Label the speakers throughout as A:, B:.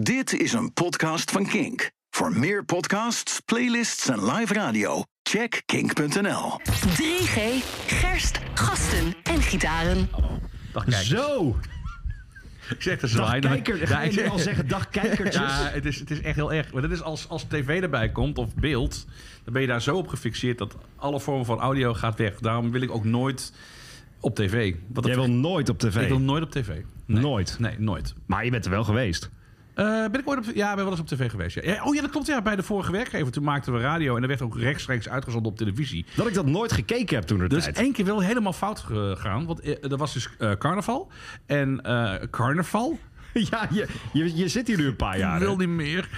A: Dit is een podcast van Kink. Voor meer podcasts, playlists en live radio, check kink.nl.
B: 3G, gerst, gasten en gitaren.
C: Dag kijkers.
D: Zo,
C: Ik zeg de
D: dag
C: zwaai.
D: kijker. Ga je nu al zeggen dag kijkertjes?
C: Ja, het is, het is echt heel erg. Maar dat is als, als tv erbij komt of beeld, dan ben je daar zo op gefixeerd dat alle vormen van audio gaat weg. Daarom wil ik ook nooit op tv. Wat
D: Jij wil nooit op tv.
C: Ik wil nooit op tv. Nee.
D: Nooit.
C: Nee, nooit.
D: Maar je bent er wel geweest.
C: Eh, ben ik ooit op, ja, ben wel eens op tv geweest. Ja. Ja, oh ja, dat klopt. Ja, bij de vorige werkgever. Toen maakten we radio en er werd ook rechtstreeks uitgezonden op televisie.
D: Dat ik dat nooit gekeken heb toen er
C: Er is
D: tijd.
C: Dus één keer wel helemaal fout gegaan. Want eh, er was dus eh, carnaval. En eh, carnaval
D: Ja, je, je, je zit hier nu een paar jaar. hè?
C: wil niet meer.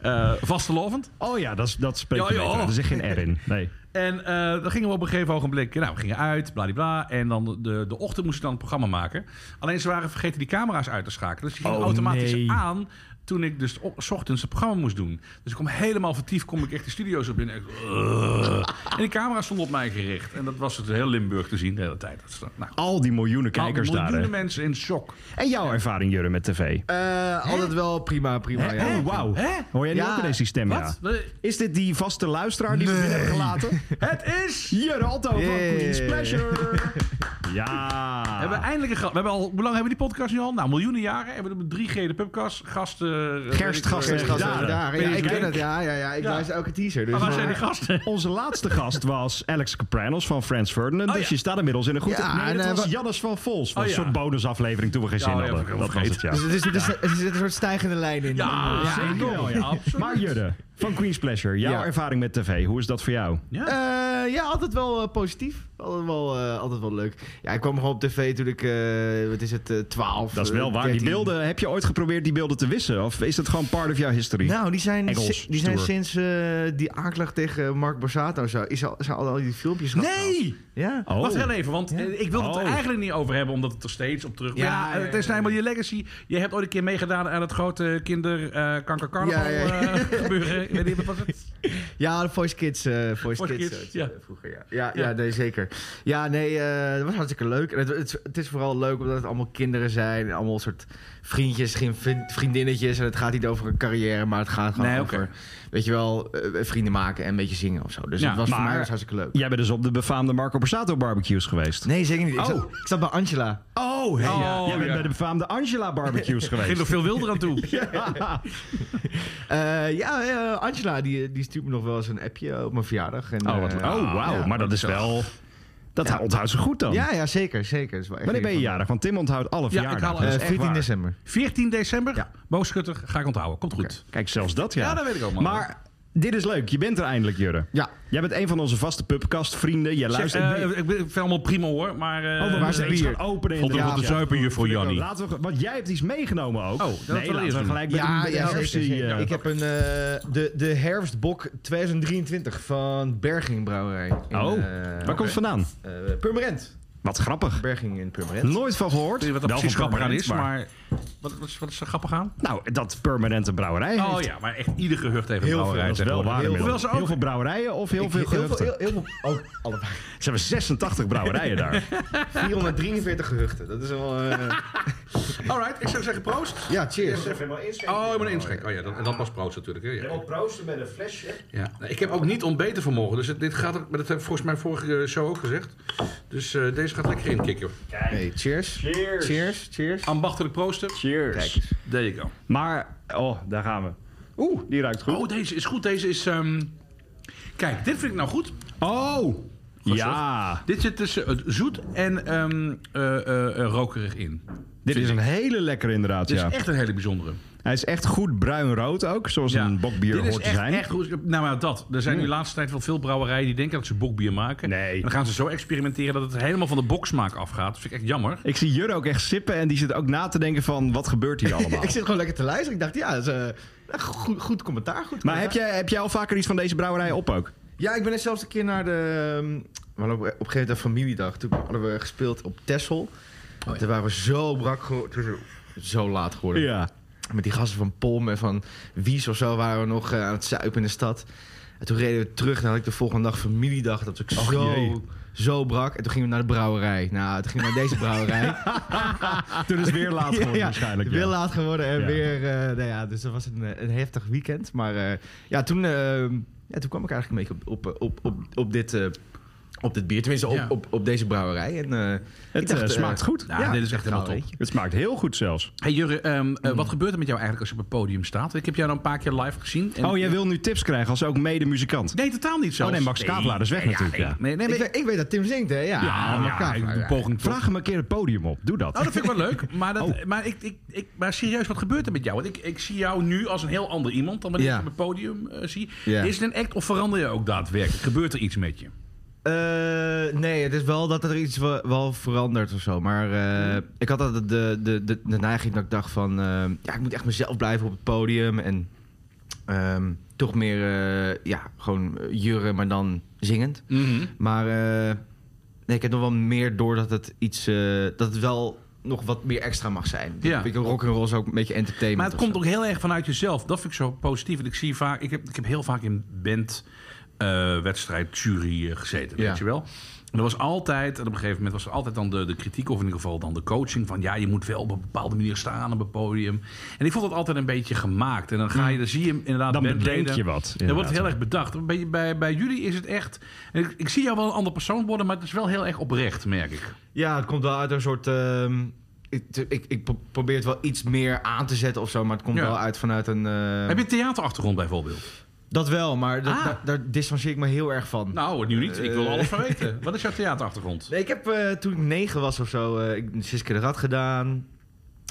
C: Eh vastelovend.
D: Oh ja, dat, is- dat spreekt
C: Ja,
D: je
C: ja.
D: beter. Er zit geen R in. Nee.
C: En eh, dan gingen we op een gegeven ogenblik. Nou, we gingen uit, bladibla. En dan de, de ochtend moest ik dan het programma maken. Alleen ze waren vergeten die camera's uit te schakelen. Dus die gingen
D: Oh,
C: automatisch
D: nee.
C: aan. Toen ik dus op, 's ochtends het programma moest doen. Dus ik kom helemaal vertiefd, kom ik echt de studio's op binnen. En, ik, "Ugh." en die camera's stonden op mij gericht. En dat was het heel Limburg te zien de hele tijd. Dat is, nou,
D: Al die miljoenen kijkers daar.
C: miljoenen
D: hè?
C: mensen in shock.
D: En jouw ervaring, Jurre, met tv?
E: Eh, altijd wel prima, prima. Ja.
D: oh, wauw.
C: Hè?
D: Hoor jij nu
E: Ja.
D: ook ineens die stem?
C: Wat?
D: Ja. Is dit die vaste luisteraar die we binnen hebben gelaten?
C: Het is...
D: Jurre Alto van
E: Yeah.
D: Queen's Pleasure. ja.
C: We hebben eindelijk een gast. We hebben al, hoe lang hebben we die podcast nu al? Nou, miljoenen jaren. Hebben we de 3G, de pubcast, gasten... eh,
D: Gerst,
C: weet ik-
D: gasten.
E: Eerst gasten
D: Ja,
E: en daden.
D: ja.
E: Ja, ik
D: Kijk.
E: ken het. Ja, ja, ja. Ik
C: Ja.
E: luister elke teaser. Dus
C: Maar waar
E: eh,
C: zijn die gasten?
D: Onze laatste gast was Alex Capranos van Frans Ferdinand.
C: Oh,
D: dus
C: ja.
D: je staat inmiddels in een goed...
E: Ja,
D: nee,
E: en,
D: dat
E: eh,
D: was
E: wa-
D: Jannes van Vols. Van
C: Oh,
D: een
C: ja.
D: soort bonusaflevering toen we geen zin
C: Ja, ja,
D: hadden.
C: heb ik
D: dat was het,
C: vergeten.
D: ja.
E: Dus er, zit, er zit- er zit een soort stijgende lijn in.
C: Ja, zeker wel, ja, absoluut.
D: Maar Jurre, van Queen's Pleasure. Jouw
E: Ja.
D: ervaring met tv, hoe is dat voor jou?
C: Ja.
E: Eh, ja, altijd wel eh, positief. Altijd wel, eh, altijd wel leuk. Ja, ik kwam gewoon op tv toen ik, eh, wat is het, eh, 12.
D: Dat is wel
E: eh,
D: waar. Die
E: 13.
D: beelden, heb je ooit geprobeerd die beelden te wissen? Of is dat gewoon part of jouw history?
E: Nou, die zijn,
D: Engels,
E: si- die zijn
D: stoer.
E: sinds eh, die aanklacht tegen Mark Borsato en zo, is al, zijn al, al die filmpjes gehaald.
C: nee!
E: Ja.
D: Oh.
C: Wacht heel even, want eh, ik wil het er
D: Oh.
C: eigenlijk niet over hebben, omdat het er steeds op terug... Ja,
E: Ja, ja,
C: eh, het is
E: ja, ja.
C: helemaal je legacy. Je hebt ooit een keer meegedaan aan het grote kinderkankercarnaval
E: Ja, ja, ja.
C: eh, gebeuren. Ik weet niet, wat was het?
E: Ja, de Voice Kids. eh, Voice,
C: Voice
E: Kids,
C: Kids,
E: eh,
C: ja.
E: Vroeger, ja. Ja,
C: Ja.
E: ja. nee, zeker. Ja, nee, eh, dat was hartstikke leuk. En het, het, het is vooral leuk omdat het allemaal kinderen zijn. en Allemaal soort vriendjes, geen vin- vriendinnetjes. En het gaat niet over een carrière, maar het gaat gewoon
C: Nee, oké.
E: over... Weet je wel, eh, vrienden maken en een beetje zingen of zo. Dus
C: Ja,
E: het was
D: maar-
E: voor mij was hartstikke leuk.
D: Jij bent dus op de befaamde Marco Borsato barbecues geweest.
E: Nee, zeker niet. Ik, zat,
D: Oh.
E: ik zat bij Angela.
D: Oh, hey, ja.
C: Oh,
D: Jij bent
C: ja.
D: bij de befaamde Angela barbecues
C: Ging er
D: geweest.
C: veel wilder aan toe.
E: Eh, ja, eh, Angela, die, die stuurt me nog wel eens een appje op mijn verjaardag. En,
D: Oh, wat,
E: eh,
D: oh wauw.
E: ja.
D: maar dat is wel... Dat onthoudt ze goed dan.
E: Ja, ja, zeker, zeker. Dat is wel echt
D: Wanneer ben je
E: een
D: jarig? Want Tim onthoudt alle
C: Ja, ik
D: verjaardagen.
C: haal-
E: van-
D: Dat is
E: Eh,
D: echt
E: 14
D: waar.
E: december.
C: 14 december,
E: Ja.
C: Bo Schutter, ga ik onthouden. Komt goed.
D: Kijk, zelfs dat ja.
C: Ja, dat weet ik ook, man.
D: Maar dit is leuk. Je bent er eindelijk, Jurre.
E: Ja.
D: Jij bent een van onze vaste pubcast-vrienden. Jij
C: Zeg,
D: luistert...
C: eh, ik, ben- ik vind het allemaal prima hoor, maar... eh,
D: Oh, we
E: waar is
D: moeten
E: het
D: iets
E: bier?
D: gaan openen
C: Vond hem
D: inderdaad.
C: op de
D: Ja.
C: zuipen hier voor Jannie.
D: Laten we, want jij hebt iets meegenomen ook.
C: dat wil
D: nee,
C: ik
D: laten
C: eerst
D: we
C: doen.
D: gelijk bij de- bij de herfstie,
E: zeker.
D: eh,
E: ik heb een, eh, de, de Herfstbok 2023 van Berging Brouwerij. In,
D: Oh,
E: eh,
D: waar komt het vandaan?
E: eh, Purmerend.
D: Wat grappig.
E: Berging in Purmerend.
D: Nooit van gehoord.
C: Ik weet niet wat er
D: Wel
C: precies
D: van
C: grappig aan is,
D: Permanent,
C: maar... Wat, wat, is, wat is er grappig aan?
D: Nou, dat permanente brouwerij
C: Oh
D: heeft.
C: ja, maar echt ieder gehucht heeft een
E: Heel veel,
C: brouwerij.
D: Dat is wel
C: tegenwoordig.
D: waar.
E: Heel
D: inmiddels.
C: veel-
D: Heel veel brouwerijen of heel
E: Ik-
D: veel
E: heel,
D: gehuchten?
E: heel, heel veel- oh, allebei.
D: Ze hebben 86 brouwerijen daar.
E: 443 gehuchten. Dat is wel... eh,
C: Alright, ik zou zeggen proost.
E: ja, cheers.
C: Oh, ik moet inschenken. Oh ja, dat, dat was proost natuurlijk. Hè? Ja.
D: proosten met een flesje.
C: Ja. Nou, Ik heb ook niet ontbeten vanmorgen, dus het- dit gaat, er- maar dat heb ik volgens mij vorige eh, show ook gezegd. Dus eh, deze gaat lekker inkikken.
E: Hey, cheers. Cheers. Cheers. Cheers.
C: Ambachtelijk proosten.
D: Cheers.
C: There you go.
D: Maar, oh, daar gaan we. Oeh, die ruikt goed.
C: Oh, deze is goed. Deze is... ehm, Kijk, dit vind ik nou goed.
D: Oh, ja.
C: Dit zit tussen het zoet en ehm, eh, eh, eh, rokerig in.
D: Dit is een hele lekkere inderdaad,
C: Dit
D: ja.
C: is echt een hele bijzondere.
D: Hij is echt goed bruin-rood ook, zoals een bokbier
C: Dit is
D: hoort te
C: echt,
D: zijn.
C: Echt goed. Nou, maar dat. Er zijn nu de laatste tijd wel veel brouwerijen die denken dat ze bokbier maken.
D: Nee.
C: En dan gaan ze zo experimenteren dat het helemaal van de boksmaak afgaat. Dat vind ik echt jammer.
D: Ik zie Jur ook echt sippen en die zit ook na te denken van wat gebeurt hier allemaal.
E: Ik zit gewoon lekker te luisteren. Ik dacht, ja, dat is, eh, goed, goed commentaar. Goed
D: maar
E: commentaar.
D: heb jij, heb jij al vaker iets van deze brouwerij op ook?
E: Ja, ik ben er zelfs een keer naar de... ehm, We hadden op op een gegeven moment een familiedag. Toen hadden we gespeeld op Texel. Toen waren we zo brak geworden. Zo laat geworden.
D: Ja.
E: Met die gasten van Pom en van Wies of zo waren we nog eh, aan het zuipen in de stad. En toen reden we terug en dan had ik de volgende dag familiedag. Dat was ik
D: Och, jee.
E: zo, zo brak. En toen gingen we naar de brouwerij. Nou, toen gingen we naar deze brouwerij.
D: Toen is het weer laat geworden waarschijnlijk.
E: Weer
D: ja.
E: laat geworden en
D: Ja.
E: weer... eh, nou ja, dus dat was een, eh, een heftig weekend. Maar eh, ja, toen, eh, ja, toen kwam ik eigenlijk een beetje op, op, op, op, op dit... eh, op dit bier, tenminste op,
C: Ja.
E: op, op deze brouwerij. En, eh, ik
D: Het eh,
E: dacht, eh,
D: smaakt goed.
C: Ja, dit is echt helemaal top.
E: weet je.
D: Het smaakt heel goed zelfs.
C: Hey Jurre, ehm, eh, wat gebeurt er met jou eigenlijk als je op het podium staat? Ik heb jou dan een paar keer live gezien. en-
D: Oh, jij wil nu tips krijgen als ook mede-muzikant?
C: Nee, totaal niet zo.
D: Oh nee, Max Kavelaar is weg natuurlijk. Ja.
C: Nee, nee,
E: Ik,
C: nee.
E: weet- ik weet dat Tim zingt, hè? Ja,
C: Ja,
E: maar
C: ja,
E: Kavelaar,
C: ik doe
E: ja.
C: poging tot-
D: Ah, Vraag hem een keer het podium op. Doe dat.
C: Oh, dat vind ik wel leuk. Maar, dat,
D: Oh.
C: maar, ik, ik, ik, maar serieus, wat gebeurt er met jou? Want ik, ik zie jou nu als een heel ander iemand dan wanneer
E: Ja.
C: ik je op het podium eh, zie.
E: Ja.
C: Is het een act of verander je ook daadwerkelijk? Gebeurt er iets met je?
E: Eh, nee, het is wel dat er iets wel, wel verandert of zo. Maar eh, ik had altijd de, de, de, de neiging dat ik dacht van... eh, ja, ik moet echt mezelf blijven op het podium. En ehm, toch meer, eh, ja, gewoon eh, jurren, maar dan zingend.
C: Mm. Mhm.
E: Maar eh, nee, ik heb nog wel meer door dat het iets... eh, dat het wel nog wat meer extra mag zijn.
C: Ja.
E: Ik rock en roll is ook een beetje entertainment.
C: Maar het
E: of
C: komt
E: zo.
C: ook heel erg vanuit jezelf. Dat vind ik zo positief. En ik zie vaak, ik heb, ik heb heel vaak in band eh, wedstrijd jury eh, gezeten,
E: Ja.
C: weet je wel. En er was altijd, en op een gegeven moment was er altijd dan de, de kritiek, of in ieder geval dan de coaching, van ja, je moet wel op een bepaalde manier staan op het podium. En ik vond dat altijd een beetje gemaakt. En dan ga je, dan zie je hem inderdaad.
D: Mm. Dan
C: bandleden-
D: bedenk je wat,
C: Dan wordt
D: inderdaad.
C: het heel erg bedacht. Bij, bij, bij jullie is het echt, en ik, ik zie jou wel een ander persoon worden, maar het is wel heel erg oprecht, merk ik.
E: Ja, het komt wel uit een soort. ehm, ik, ik, ik pro- probeer het wel iets meer aan te zetten of zo, maar het komt
C: Ja.
E: wel uit vanuit een. eh,
C: Heb je een theaterachtergrond bijvoorbeeld?
E: Dat wel, maar dat-
C: Ah.
E: daar, daar distancieer ik me heel erg van.
C: Nou, nu niet. Ik wil alles van weten. Wat is jouw theaterachtergrond?
E: Nee, ik heb eh, toen ik negen was of zo, eh ik, Siske de Rad gedaan.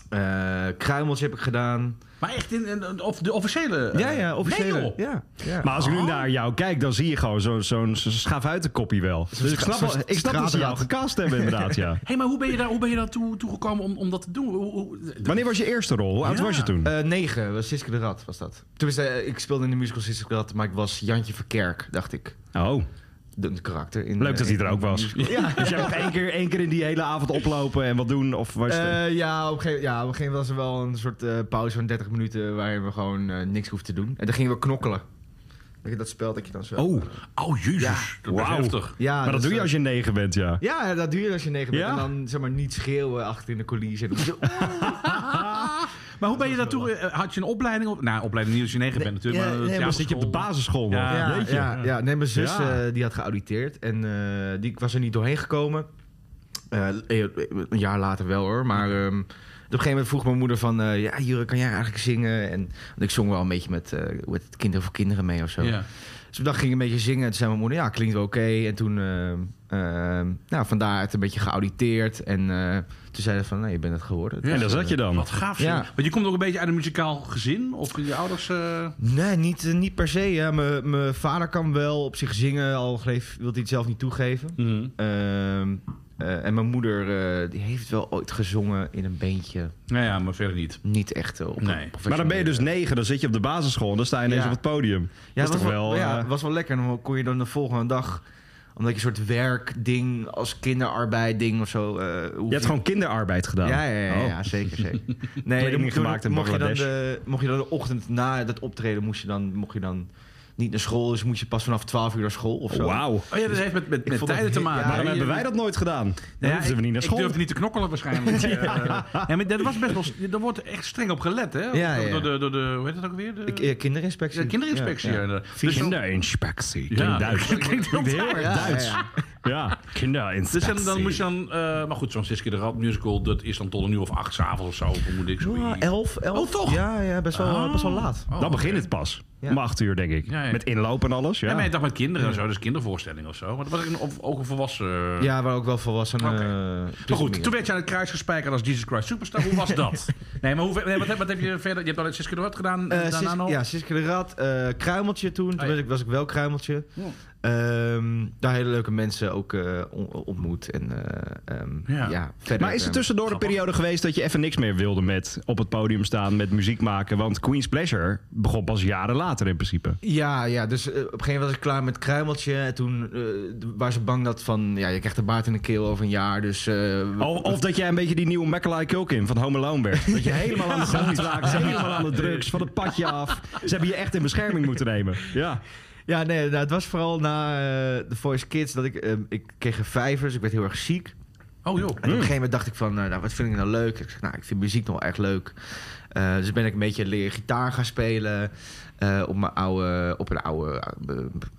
E: Eh Kruimels heb ik gedaan.
C: Maar echt in, in- in- of de officiële. eh,
E: officieel.
C: nee, joh.
E: ja, ja.
D: Maar als ik nu
C: Oh.
D: naar jou kijk, dan zie je gewoon zo- zo'n schaafhuitenkopie wel. Dus ik
E: stra-
D: snap, wel,
E: zo'n
D: ik snap dat ze jou
E: straatraad.
D: gecast hebben inderdaad, ja.
C: Hey, maar hoe ben je daar, hoe ben je daar toe, toegekomen om, om dat te doen? Hoe, hoe-
D: Wanneer was je eerste rol? Hoe oud
C: Ja.
D: was je toen?
E: Eh, negen, was Siske de Rad was dat. Tenminste, eh, ik speelde in de musical Siske de Rad, maar ik was Jantje Verkerk, dacht ik.
D: Oh,
E: De, de karakter. In,
D: leuk dat
E: eh,
D: hij er ook was.
E: Ja.
D: Dus jij hebt één keer, één keer in die hele avond oplopen en wat doen? Of was het-
E: Eh, ja, op een gegeven, ja, op een gegeven moment was er wel een soort eh, pauze van 30 minuten waarin we gewoon eh, niks hoefden te doen. En dan gingen we knokkelen. Weet je, dat spel dat je dan zo...
C: Oh, oh jezus.
E: Ja.
C: Dat was
D: Wauw.
C: heftig.
E: Ja,
D: maar dat
E: dus,
D: doe je
E: eh,
D: als je negen bent, ja.
E: Ja, dat doe je als je negen bent.
D: Ja?
E: En dan zeg maar niet schreeuwen achter in de coulissen.
C: Maar hoe ben je daartoe? eh, Had je een opleiding? op- Nou, opleiding niet als je negen bent natuurlijk.
E: ja,
C: maar, eh,
E: nee, maar
D: Dan zit je op de
C: theaterschool.
D: basisschool nog.
C: Ja.
E: ja,
D: Ah, Jeetje.
E: ja, ja. Nee, mijn zus
D: Ja.
E: eh, die had geauditeerd en eh, die ik was er niet doorheen gekomen. Eh, eh, een jaar later wel hoor, maar ehm, op een gegeven moment vroeg mijn moeder van... eh, ja, Jure, kan jij eigenlijk zingen? En, want ik zong wel een beetje met, eh, hoe heet het, Kinderen voor Kinderen mee of zo.
C: Ja.
E: Dus op dat ging ik een beetje zingen. En toen zei mijn moeder, ja, klinkt wel oké. En toen, ehm ehm, nou, vandaar het een beetje geauditeerd. En eh, toen zei ze van, nee, je bent het geworden.
D: En daar
E: Dus,
D: zat
E: eh,
D: je dan.
C: Wat gaaf.
E: Ja.
C: zeg. Want je komt ook een beetje uit een muzikaal gezin? Of je ouders. eh,
E: Nee, niet, eh, niet per se. hè. Mijn- Mijn vader kan wel op zich zingen, al geef, wil hij het zelf niet toegeven.
C: Mhm.
E: Ehm, eh, en mijn moeder eh, die heeft wel ooit gezongen in een beentje.
C: Nou ja, maar verder niet.
E: Niet echt eh, op een
C: Nee.
D: Maar dan ben je
E: professionele-
D: dus negen, dan zit je op de basisschool en dan sta je ineens
E: Ja.
D: op het podium.
E: Ja,
D: dat is
E: was
D: toch wel...
E: ja,
D: eh,
E: was wel lekker. Dan kon je dan de volgende dag... Omdat je een soort werkding als kinderarbeidding of zo... eh, hoef
D: je hebt gewoon kinderarbeid gedaan.
E: Ja, ja, ja, ja,
D: Oh.
E: ja, zeker, zeker. Nee, dan
D: Kleding
E: mocht, je-
D: gemaakt in
E: mocht je dan
D: Bangladesh.
E: de, mocht je dan de ochtend na dat optreden... moest je dan, mocht je dan niet naar school... dus moest je pas vanaf 12 uur naar school of zo.
D: Wauw.
C: Oh ja, dat heeft met, met,
E: Ik
C: met
E: vond dat
C: tijden te
E: heel-
C: maken.
E: ja,
D: Waarom
C: hè?
D: hebben
C: Je-
D: wij dat nooit gedaan? Dan
C: Nou ja,
D: hoefden we niet naar
C: ik-
D: school.
C: Ik durfde niet te knokkelen waarschijnlijk. Eh, nee, maar dat was best wel... Er wordt echt streng op gelet, hè?
E: Ja, ja.
C: Door, de, door de... Hoe heet dat ook weer? De,
E: Ik- eh, kinderinspectie.
C: de kinderinspectie.
E: Ja, ja.
C: ja. Dus dan-
D: Kinderinspectie.
C: Ja.
D: Klinkt Duits.
C: Dat klinkt heel
D: erg
E: Ja, ja,
D: Duits.
E: ja.
D: Ja,
C: Dus
D: kinderinspectie.
C: dan, dan moest je dan... eh, maar goed, zo'n Siske de Rad musical... dat is dan tot een uur of acht s'avonds of zo. Vermoed ik zo.
E: Ah, elf, elf.
C: Oh, toch? Ah.
E: Ja, ja best, wel, best wel laat.
D: Dan begint het pas.
E: Ja.
D: Om acht uur, denk ik.
C: Ja, ja.
D: Met inloop en alles. Ja.
C: Ja, maar je dacht met kinderen en zo. Dus kindervoorstellingen of zo. Maar dat was ook een- of, ook een volwassen...
E: Ja, waar ook wel volwassenen...
C: Oké.
E: eh,
C: Maar
E: tussen-
C: goed, toen werd je aan het kruis gespijkerd als Jesus Christ Superstar. Hoe was dat? nee, maar hoe, ver- nee, wat, heb, wat heb je verder... Je hebt al Siske de Rad gedaan,
E: Eh,
C: eh, daarna
E: Sis-
C: nog? Oh,
E: ja, Siske de Rad, eh, Kruimeltje toen. Toen
C: ja.
E: was ik- was ik wel Kruimeltje.
C: Ja.
E: Ehm, daar hele leuke mensen ook eh, on- ontmoet. En, eh, ehm,
C: Ja.
E: ja. verder.
D: Maar is er
E: ehm,
D: tussendoor een
C: Grappig.
D: periode geweest dat je even niks meer wilde met op het podium staan, met muziek maken? Want Queen's Pleasure begon pas jaren later in principe.
E: Ja, ja, dus eh, op een gegeven moment was ik klaar met Kruimeltje. En toen eh, d- waren ze bang dat van... Ja, je krijgt de baard in de keel over een jaar. Dus eh, we-
C: Oh,
D: Of, Oh, of dat jij een beetje die nieuwe Macaulay Culkin van Home Alone werd. Dat je helemaal aan de grond raakt, helemaal aan de drugs, van het padje af. Ze hebben je echt in bescherming moeten nemen. Ja.
E: Ja, nee, nou, het was vooral na eh, The Voice Kids dat ik... eh, ik kreeg een vijvers, ik werd heel erg ziek. En
C: Oh joh.
D: Hmm.
E: op een gegeven moment dacht ik van, eh, nou, wat vind ik nou leuk? Ik zeg, nou, ik vind muziek nog wel echt leuk. Eh, dus ben ik een beetje leren gitaar gaan spelen. eh, op mijn oude... Op een oude... eh, wat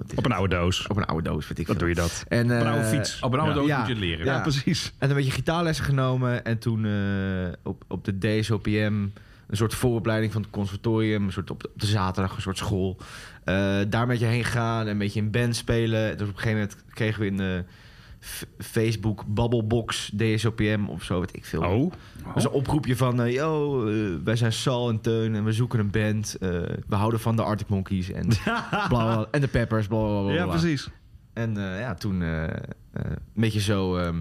E: is
D: Op een
E: het?
D: oude doos.
E: Op een oude doos, weet ik
D: Wat
E: veel.
D: doe je dat?
E: En,
D: Op een oude
E: eh,
D: fiets.
C: Oh, benauwd
D: Ja.
C: ook
E: Ja.
C: moet je het leren.
E: Ja.
D: Ja, precies.
E: En een beetje gitaarlessen genomen. En toen eh, op, op de DSOPM, een soort vooropleiding van het conservatorium. Een soort op de, op de zaterdag, een soort school. Eh, daar een beetje heen gaan en een beetje in band spelen. Dus op een gegeven moment kregen we in de F- Facebook Bubblebox DSOPM of zo, weet ik veel.
D: Oh,
E: Dat is een oproepje van, eh, yo, eh, wij zijn Sal en Teun en we zoeken een band. Eh, we houden van de Arctic Monkeys en, bla, bla, bla, en de Peppers, bla, bla, bla,
D: ja,
E: bla.
D: precies.
E: En eh, ja, toen eh, eh, een beetje zo ehm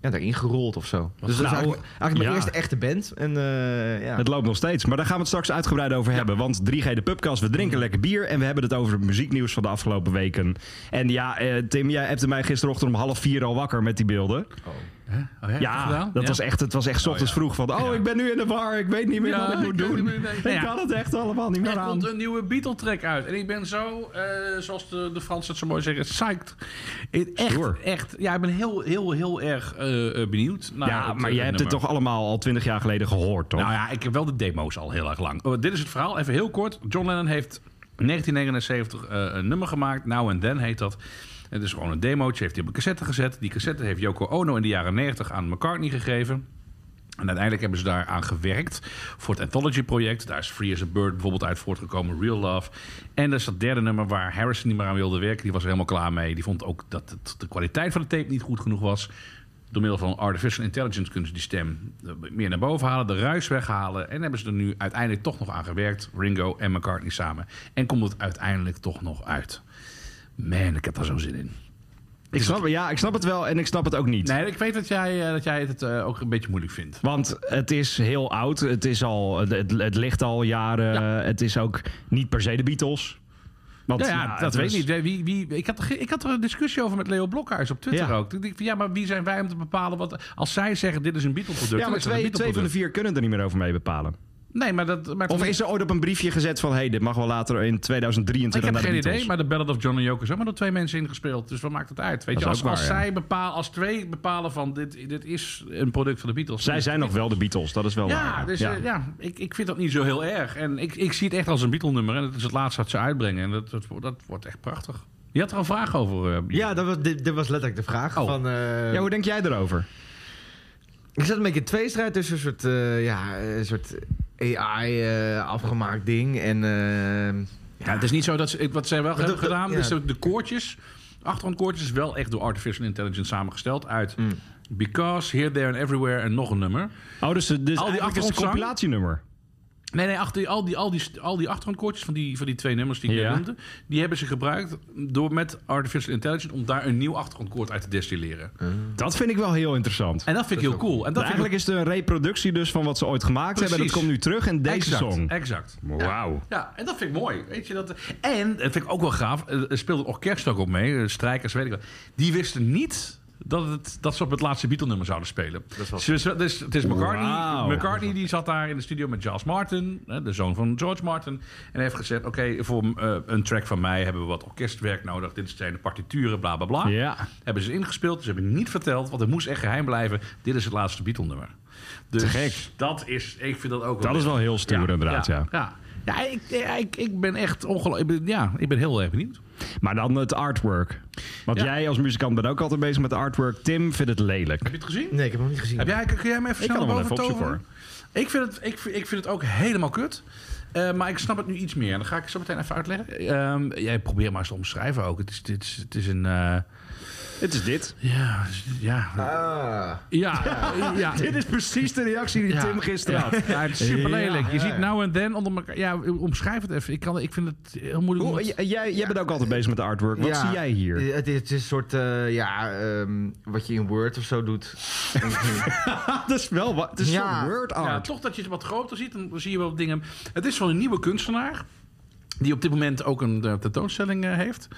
E: ja, daarin gerold of zo. Dus dat
D: nou,
E: is eigenlijk, eigenlijk mijn
D: ja.
E: eerste echte band. En eh, ja.
D: Het loopt nog steeds. Maar daar gaan we het straks uitgebreid over hebben. Want 3G de Pubcast, we
C: Mm.
D: drinken lekker bier. En we hebben het over het muzieknieuws van de afgelopen weken. En ja, eh, Tim, jij appte mij gisterochtend om half vier al wakker met die beelden.
C: Oh, ja,
D: Ja, dat was echt, het was echt 's ochtends vroeg van... Oh,
C: Ja.
D: ik ben nu in de war. Ik weet niet meer
C: Ja,
D: wat ik moet
C: ik weet
D: doen.
C: niet meer- nee.
D: Ik
C: Nou ja.
D: kan het echt allemaal niet meer
C: Er komt
D: aan.
C: een nieuwe Beatle-track uit. En ik ben zo, eh, zoals de, de Fransen het zo mooi zeggen, psyched. Ik-
D: Stoer.
C: Echt, echt. Ja, ik ben heel, heel, heel erg eh, eh, benieuwd. Naar
D: Ja,
C: het,
D: maar
C: eh,
D: jij hebt het
C: nummer.
D: toch allemaal al twintig jaar geleden gehoord, toch?
C: Nou ja, ik heb wel de demo's al heel erg lang. Oh, dit is het verhaal, even heel kort. John Lennon heeft 1979 eh, een nummer gemaakt. Now and Then heet dat. Het is gewoon een demootje, heeft hij op een cassette gezet. Die cassette heeft Yoko Ono in de jaren 90 aan McCartney gegeven. En uiteindelijk hebben ze daaraan gewerkt voor het Anthology-project. Daar is Free as a Bird bijvoorbeeld uit voortgekomen, Real Love. En dat is dat derde nummer waar Harrison niet meer aan wilde werken. Die was er helemaal klaar mee. Die vond ook dat het, de kwaliteit van de tape niet goed genoeg was. Door middel van artificial intelligence kunnen ze die stem eh, meer naar boven halen, de ruis weghalen. En hebben ze er nu uiteindelijk toch nog aan gewerkt, Ringo en McCartney samen. En komt het uiteindelijk toch nog uit. Man, ik heb daar zo zin in.
D: ik snap, ja, ik snap het wel en ik snap het ook niet.
C: Nee, ik weet dat jij, eh, dat jij het eh, ook een beetje moeilijk vindt.
D: Want het is heel oud. Het, is al, het, het- het ligt al jaren. Het is ook niet per se de Beatles. Want,
C: Ja, ja,
D: nou,
C: dat
D: het
C: weet
D: was-
C: ik niet. Wie, wie, ik, had, er ge- ik had er een discussie over met Leo Blokhuis op Twitter
D: Ja.
C: ook. Ik dacht van, ja, maar wie zijn wij om te bepalen wat... Als zij zeggen, dit is een Beatle-product...
D: Ja,
C: dan
D: maar
C: is het een
D: twee, twee van de
C: Beatle-product.
D: vier kunnen er niet meer over mee bepalen.
C: Nee, maar dat... Maar
D: Of is er ooit op een briefje gezet van... hé, hey, dit mag wel later in
C: Ik
D: 2023
C: heb
D: naar
C: geen
D: de
C: idee,
D: Beatles.
C: maar de Ballad of John en Yoko is ook maar door twee mensen ingespeeld. Dus wat maakt het uit? Weet
D: Dat
C: je,
D: is
C: als,
D: ook waar,
C: als
D: ja.
C: zij bepalen, als twee bepalen van dit, dit is een product van de Beatles.
D: Zij zijn nog wel de Beatles, dat is wel waar.
C: Ja, dus eh, ja, ik, ik vind dat niet zo heel erg. En ik, ik zie het echt als een Beatle-nummer. En het is het laatste wat ze uitbrengen. En dat, dat, wordt- dat wordt echt prachtig. Je had er een vraag over. eh, Björn.
E: ja, dat was, dit, dit was letterlijk de vraag.
C: Oh.
E: Van, eh,
D: Ja, hoe denk jij erover?
E: Ik zat een beetje in tweestrijd tussen een soort, eh, ja, een soort AI-afgemaakt ding. En eh,
C: Ja, het is niet zo dat ze, wat zij wel hebben
E: dat-
C: gedaan,
E: ja.
C: is dat de koortjes, achtergrondkoortjes, is wel echt door artificial intelligence samengesteld uit
E: Mm.
C: Because, Here, There and Everywhere en nog een nummer.
D: Oh, dus, dus eigenlijk is het een
C: achtergrondzang?
D: compilatienummer.
C: Nee, nee, achter, al, die, al, die, al die achtergrondkoortjes van die, van die twee nummers die ik
D: Ja.
C: net noemde, die hebben ze gebruikt door met artificial intelligence om daar een nieuw achtergrondkoord uit te destilleren.
D: Dat vind ik wel heel interessant.
C: En dat vind ik heel cool. En dat vind ik-
D: Eigenlijk is het een reproductie dus van wat ze ooit gemaakt hebben.
C: Precies.
D: Dat komt nu terug in deze
C: exact,
D: song.
C: Exact.
D: Wauw.
C: Ja, en dat vind ik mooi. Weet je, dat, en, dat vind ik ook wel gaaf, eh, er speelt een orkest ook op mee. eh, Strijkers, weet ik wat. Die wisten niet dat, het, dat ze op het laatste Beatle-nummer zouden spelen. Ze- ze- dus, het is McCartney.
D: Wauw.
C: McCartney die zat daar in de studio met Giles Martin, hè, de zoon van George Martin. En heeft gezegd, oké, voor eh, een track van mij hebben we wat orkestwerk nodig. Dit zijn de partituren, bla bla bla.
D: Ja.
C: Hebben ze ingespeeld, ze hebben niet verteld, want het moest echt geheim blijven. Dit is het laatste Beatle-nummer. Dus
D: gek.
C: dat is, ik vind dat ook
D: Dat is wel heel stoer inderdaad, ja.
C: ja. Ja, ik, ja, ik, ik ben echt ongelooflijk. ik ben- Ja, ik ben heel erg benieuwd.
D: Maar dan het artwork. Want
C: Ja.
D: jij als muzikant bent ook altijd bezig met artwork. Tim vindt het lelijk.
C: Heb je het gezien?
E: nee, ik heb hem niet gezien.
C: Heb jij, kun jij hem even
D: Ik kan
C: snel
D: hem wel
C: boven
D: even opzoeken hoor.
C: toveren? Ik vind, het, ik, vind- ik vind het ook helemaal kut. Eh, maar ik snap het nu iets meer. En dan ga ik het zo meteen even uitleggen. Ehm, jij probeert maar eens te omschrijven ook. Het is, dit is, het is een... eh,
D: Het is dit.
C: ja, het is- ja,
E: Ah.
C: ja, ja.
D: Dit is precies de reactie die Tim gisteren had.
C: Ja, het is super lelijk. Je
E: Ja, ja,
C: ziet
E: ja.
C: nou en dan onder elkaar... Ja, omschrijf het even. Ik, kan, ik vind het heel moeilijk. om
D: Hoe-
C: het-
D: j- jij jij bent ook altijd bezig met de artwork. Wat
E: Ja.
D: zie jij hier?
E: Eh, Het is, het is een soort, eh, ja, ehm, wat je in Word of zo doet.
D: Ah, dat is wel wat. Het
E: is Ja. zo'n word
C: Ja, toch dat je het wat groter ziet, dan zie je wel dingen. Het is van een nieuwe kunstenaar, die op dit moment ook een eh, tentoonstelling eh, heeft.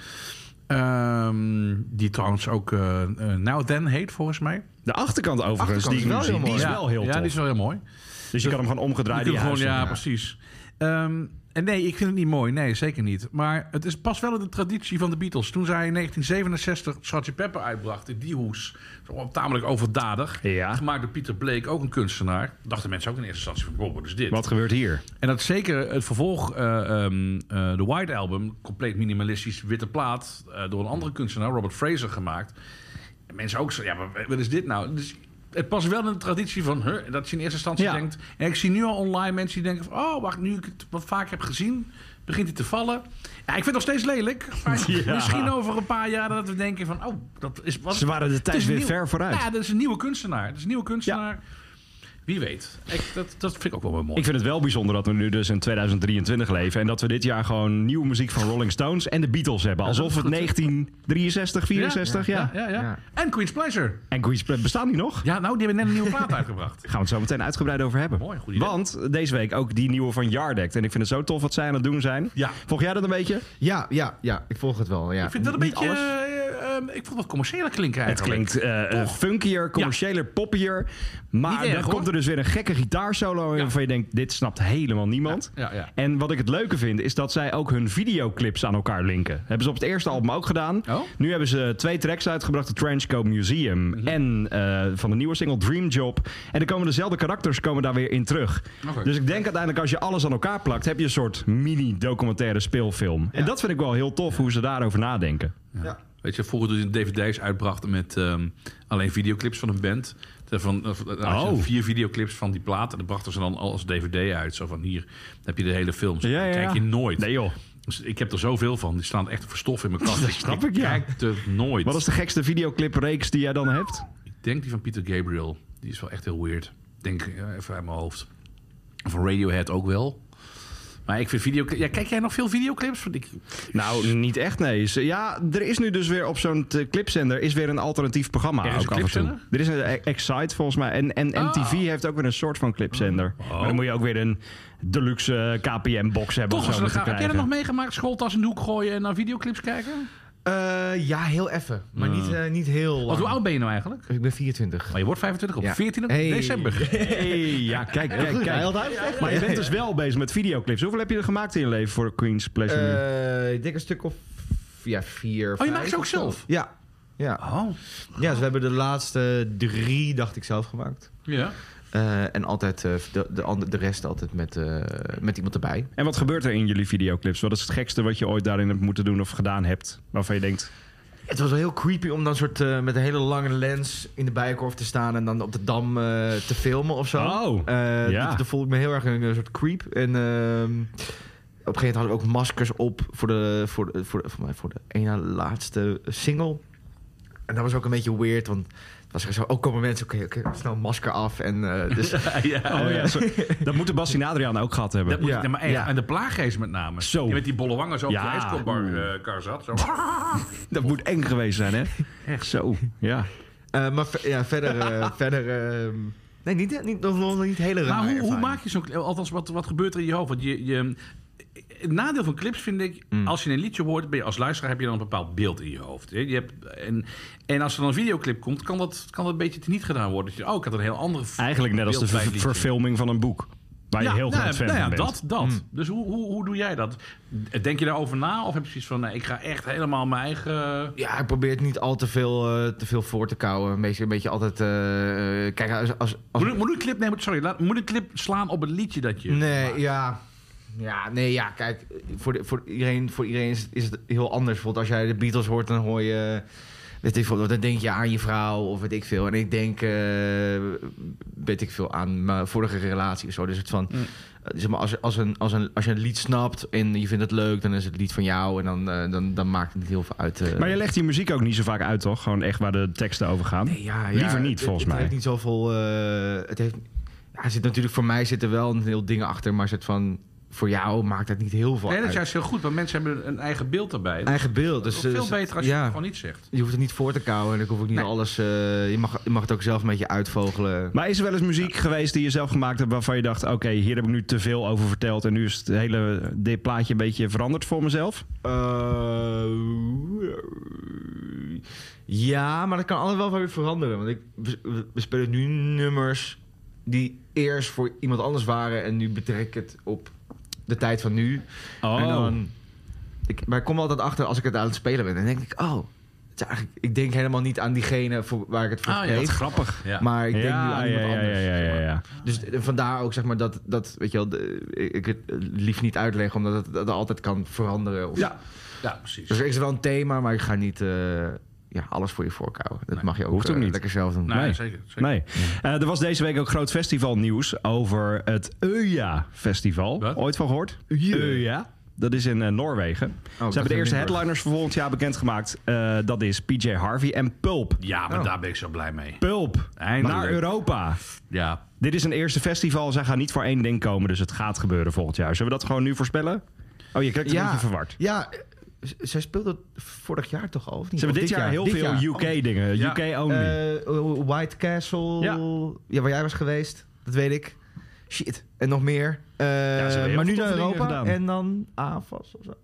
C: Ehm, die trouwens ook eh eh, Now Then heet, volgens mij.
D: De achterkant overigens,
E: Achterkant
D: die,
E: is wel
D: die,
E: heel
D: die is
E: mooi.
D: wel heel
C: ja,
D: tof.
C: die is wel heel mooi.
D: Dus je kan hem gewoon omgedraaid
C: Je
D: in je
C: kunt
D: huis
C: gewoon, ja,
D: zetten.
C: precies. Ehm, en nee, ik vind het niet mooi. Nee, zeker niet. Maar het is pas wel in de traditie van de Beatles. Toen zij in 1967 Sgt. Pepper uitbrachten, die hoes. Zo wel Tamelijk overdadig.
D: Ja.
C: Gemaakt door Pieter Blake, ook een kunstenaar. Dachten mensen ook in eerste instantie van, wow, wat is dit?
D: Wat gebeurt hier?
C: En dat is zeker het vervolg, eh, ehm, eh, de White Album, compleet minimalistisch, witte plaat, eh, door een andere kunstenaar, Robert Fraser, gemaakt. En mensen ook zo, ja, maar wat is dit nou? Dus het past wel in de traditie van, huh, dat je in eerste instantie
D: Ja.
C: denkt... En ik zie nu al online mensen die denken van, oh, wacht, nu ik het wat vaak heb gezien, begint het te vallen. Ja, ik vind het nog steeds lelijk, maar
D: Ja.
C: misschien over een paar jaar dat we denken van, oh, dat is... Wat,
D: Ze waren de
C: het
D: tijd
C: is
D: weer
C: nieuw.
D: ver vooruit.
C: Ja, dat is een nieuwe kunstenaar. Dat is een nieuwe kunstenaar. Wie weet. Ik, dat, dat vind ik ook wel weer mooi.
D: Ik vind het wel bijzonder dat we nu dus in 2023 leven. En dat we dit jaar gewoon nieuwe muziek van Rolling Stones en de Beatles hebben. Alsof het 1963, 64, ja.
C: Ja, ja.
E: Ja.
C: En Queen's Pleasure.
D: En Queen's Pla- bestaan die nog?
C: Ja, nou, die hebben net een nieuwe plaat uitgebracht.
D: Daar gaan we het zo meteen uitgebreid over hebben.
C: Mooi, goed idee.
D: Want deze week ook die nieuwe van Yardact. En ik vind het zo tof wat zij aan het doen zijn.
C: Ja.
D: Volg jij dat een beetje?
E: Ja, ja, ja, ik volg het wel. Ja.
C: Ik vind dat een
E: Niet
C: beetje...
E: alles.
C: eh, ehm, ik vond het wat commerciëler klinken
D: Het
C: eigenlijk.
D: klinkt eh, eh, funkier, commerciëler, poppier. Maar
C: Niet erg,
D: dan
C: hoor.
D: komt er dus weer een gekke gitaarsolo in
C: Ja.
D: waarvan je denkt, dit snapt helemaal niemand.
C: Ja, ja.
D: En wat ik het leuke vind, is dat zij ook hun videoclips aan elkaar linken. Hebben ze op het eerste album ook gedaan.
C: Oh.
D: Nu hebben ze twee tracks uitgebracht, de Trenchcoat Museum en eh, van de nieuwe single Dream Job. En er komen dezelfde karakters komen daar weer in terug.
C: Oké.
D: Dus ik denk uiteindelijk als je alles aan elkaar plakt, heb je een soort mini-documentaire speelfilm. En dat vind ik wel heel tof, hoe ze daarover nadenken.
C: Weet je, vroeger toen ze dvd's uitbrachten met ehm, alleen videoclips van een band. Daarvan, eh, dan had je
D: Oh.
C: vier videoclips van die plaat. En dat brachten ze dan als dvd uit. Zo van, hier dan heb je de hele film.
D: Ja, ja,
C: Die Kijk je
D: ja.
C: nooit.
D: Nee joh.
C: Dus ik heb er zoveel van. Die staan echt verstof in mijn kast.
D: Dat snap ik, ja.
C: kijk er nooit.
D: Wat is de gekste videoclipreeks die jij dan hebt?
C: Ik denk die van Peter Gabriel. Die is wel echt heel weird. Ik Denk eh, even uit mijn hoofd. Van Radiohead ook wel. Maar ik vind video. Ja, kijk jij nog veel videoclips? Want ik...
D: Nou, niet echt, nee. Ze- Ja, er is nu dus weer op zo'n eh, clipzender is weer een alternatief programma.
C: Er is
D: ook
C: een
D: af en toe.
C: clipzender? Oh.
D: Er is een eh, Excite volgens mij. En, en MTV heeft ook weer een soort van clipzender. Maar dan moet je ook weer een deluxe eh, KPM-box hebben.
C: Toch was
D: of zo
C: er
D: om te
C: graag. Heb jij dat
D: krijgen.
C: nog meegemaakt? Schooltas in de hoek gooien en naar videoclips kijken?
E: Eh, ja, heel even. Maar
C: Ja.
E: niet, eh, niet heel lang.
C: Want hoe oud ben je nou eigenlijk?
E: Ik ben 24.
C: Maar je wordt 25 op
E: Ja.
C: 14
E: Hey.
C: december.
D: Hey, ja, kijk, kijk,
E: Ja,
D: kijk.
E: heel duidelijk.
D: Maar je bent dus wel bezig met videoclips. Hoeveel heb je er gemaakt in je leven voor Queen's Pleasure? nu?
E: Eh, ik denk een stuk of ja, vier.
C: Oh, je
E: vijf
C: maakt ze ook
E: of zo.
C: zelf?
E: Ja. Ja.
C: Oh,
E: ja, dus we hebben de laatste drie, dacht ik, zelf gemaakt.
C: ja.
E: Eh, en altijd eh, de, de, ander- de rest altijd met, eh, met iemand erbij.
D: En wat gebeurt er in jullie videoclips? Wat is het gekste wat je ooit daarin hebt moeten doen of gedaan hebt? Waarvan je denkt,
E: Het was wel heel creepy om dan soort eh, met een hele lange lens in de bijenkorf te staan en dan op de dam eh, te filmen of zo.
D: Oh,
E: Eh,
D: ja.
E: dat- Daar voelde ik me heel erg een, eh, soort creep. En ehm, op een gegeven moment hadden we ook maskers op voor de, voor de, voor de, voor mij, voor de ene laatste single. En dat was ook een beetje weird, want het was echt zo, oh komen mensen, oké, oké, snel masker af. En eh, dus
D: oh ja, zo- dat moeten Bassie en Adriaan ook gehad hebben.
C: Dat moet
E: Ja,
C: ik nee, maar echt.
E: ja.
C: En de plaaggeest met name.
D: Zo.
C: Je met die bolle wangen zo op
D: Ja.
C: de ijskopbar eh, kar zat. Zo.
D: Dat moet eng geweest zijn, hè? Echt zo. Ja.
E: Eh, maar ver- ja, verder... eh, verder ehm, nee, niet, niet, nog, nog niet hele rare
C: Maar hoe, hoe
E: ervaring.
C: maak je zo'n clip? Althans, wat, wat gebeurt er in je hoofd? Want je, je, het nadeel van clips vind ik,
D: Mm.
C: als je een liedje hoort, ben je als luisteraar heb je dan een bepaald beeld in je hoofd. Je hebt, en, en als er dan een videoclip komt, kan dat, kan dat een beetje teniet gedaan worden. Dat je, oh, ik had een heel andere v-
D: Eigenlijk net als de
C: beeld bij het
D: ver-
C: liedje.
D: verfilming van een boek. Waar je
C: Ja,
D: heel
C: nou,
D: groot fan
C: nou ja,
D: van bent. Mm.
C: dat, dat. Dus hoe, hoe, hoe doe jij dat? Denk je daarover na? Of heb je zoiets van, nee, ik ga echt helemaal mijn eigen...
E: Ja, ik probeer het niet al te veel, eh, te veel voor te kouwen. Meestal een beetje altijd... eh, eh, kijk, als... als, als-
C: Moet ik, moet ik een clip nemen? Sorry, laat, moet ik een clip slaan op het liedje dat je...
E: nee, ja... Ja, nee, ja, kijk, voor, de- voor iedereen, voor iedereen is, is het heel anders. Bijvoorbeeld als jij de Beatles hoort, dan hoor je... Weet ik veel, dan denk je aan je vrouw of weet ik veel. En ik denk, eh, weet ik veel, aan mijn vorige relatie of zo. Dus het van,
C: Mm.
E: eh, zeg maar, als, als, een, als, een, als je een lied snapt en je vindt het leuk... dan is het lied van jou en dan, eh, dan, dan maakt het niet heel veel uit. eh.
D: Maar je legt die muziek ook niet zo vaak uit, toch? Gewoon echt waar de teksten over gaan.
E: Nee, ja, ja,
D: Liever niet,
E: het-
D: volgens
E: het
D: mij.
E: Heeft niet zoveel, eh, het heeft, ja, er zit natuurlijk, voor mij zit er wel een heel dingen achter, maar zit van, voor jou maakt het niet heel veel
C: Nee, dat
E: uit.
C: is juist heel goed, want mensen hebben een eigen beeld daarbij. Dat
E: Eigen beeld. Dus,
C: is veel
E: dus-
C: beter als je
E: ja,
C: het gewoon niet zegt.
E: Je hoeft het niet voor te kouwen en ik hoef ook niet
C: Nee.
E: alles... eh, je, mag, je mag het ook zelf een beetje uitvogelen.
D: Maar is er wel eens muziek geweest die je zelf gemaakt hebt... waarvan je dacht, oké, hier heb ik nu te veel over verteld... en nu is het hele dit plaatje een beetje veranderd voor mezelf?
E: Eh, ja, maar dat kan altijd wel weer veranderen. Want ik, we, we spelen nu nummers die eerst voor iemand anders waren... en nu betrek ik het op de tijd van nu.
C: Oh.
E: En dan, ik, maar ik kom altijd achter als ik het aan het spelen ben. Dan denk ik, oh, het is eigenlijk, ik denk helemaal niet aan diegene voor, waar ik het voor
C: Ah, ja,
E: geef.
C: dat is grappig. Ja.
E: Maar ik denk nu
D: ja,
E: aan
D: ja,
E: iemand
D: ja,
E: anders.
D: ja, ja,
E: zeg
D: ja,
E: maar.
D: ja.
E: Dus eh, vandaar ook zeg maar dat, dat weet je wel, de- ik het lief niet uitleggen omdat het, dat altijd kan veranderen. Of,
C: ja. ja, precies.
E: Dus er is wel een thema, maar ik ga niet eh, ja, alles voor je voorkouwen. Dat mag je ook,
D: hoeft ook
E: eh,
D: niet.
E: lekker zelf doen.
C: Nee,
D: Nee.
C: zeker. zeker.
D: Nee. Eh, er was deze week ook groot festivalnieuws over het Øya-festival.
C: Wat?
D: Ooit van gehoord? Øya. Dat is in eh, Noorwegen. Ze
E: dacht
D: hebben de
E: in
D: eerste
E: Limburg.
D: headliners voor volgend jaar bekendgemaakt. Eh dat is PJ Harvey en Pulp.
C: Ja, maar daar ben ik zo blij mee.
D: Pulp.
C: Eindelijk.
D: Naar Europa.
C: Ja,
D: Dit is een eerste festival. Zij gaan niet voor één ding komen, dus het gaat gebeuren volgend jaar. Zullen we dat gewoon nu voorspellen? Oh, je kijkt een beetje verward.
E: Ja, eh, z- zij speelde vorig jaar toch al, of niet?
D: Ze hebben
E: Of
D: dit jaar heel
E: Oh, dit
D: veel
E: jaar.
D: UK-dingen.
C: Ja.
D: UK-only.
E: Eh, White Castle,
D: Ja.
E: ja. waar jij was geweest, dat weet ik. Shit, en nog meer. Eh,
D: Ja, ze hebben heel
E: maar
D: veel
E: nu naar
D: toffe dingen
E: Europa
D: gedaan.
E: en dan AFAS of zo.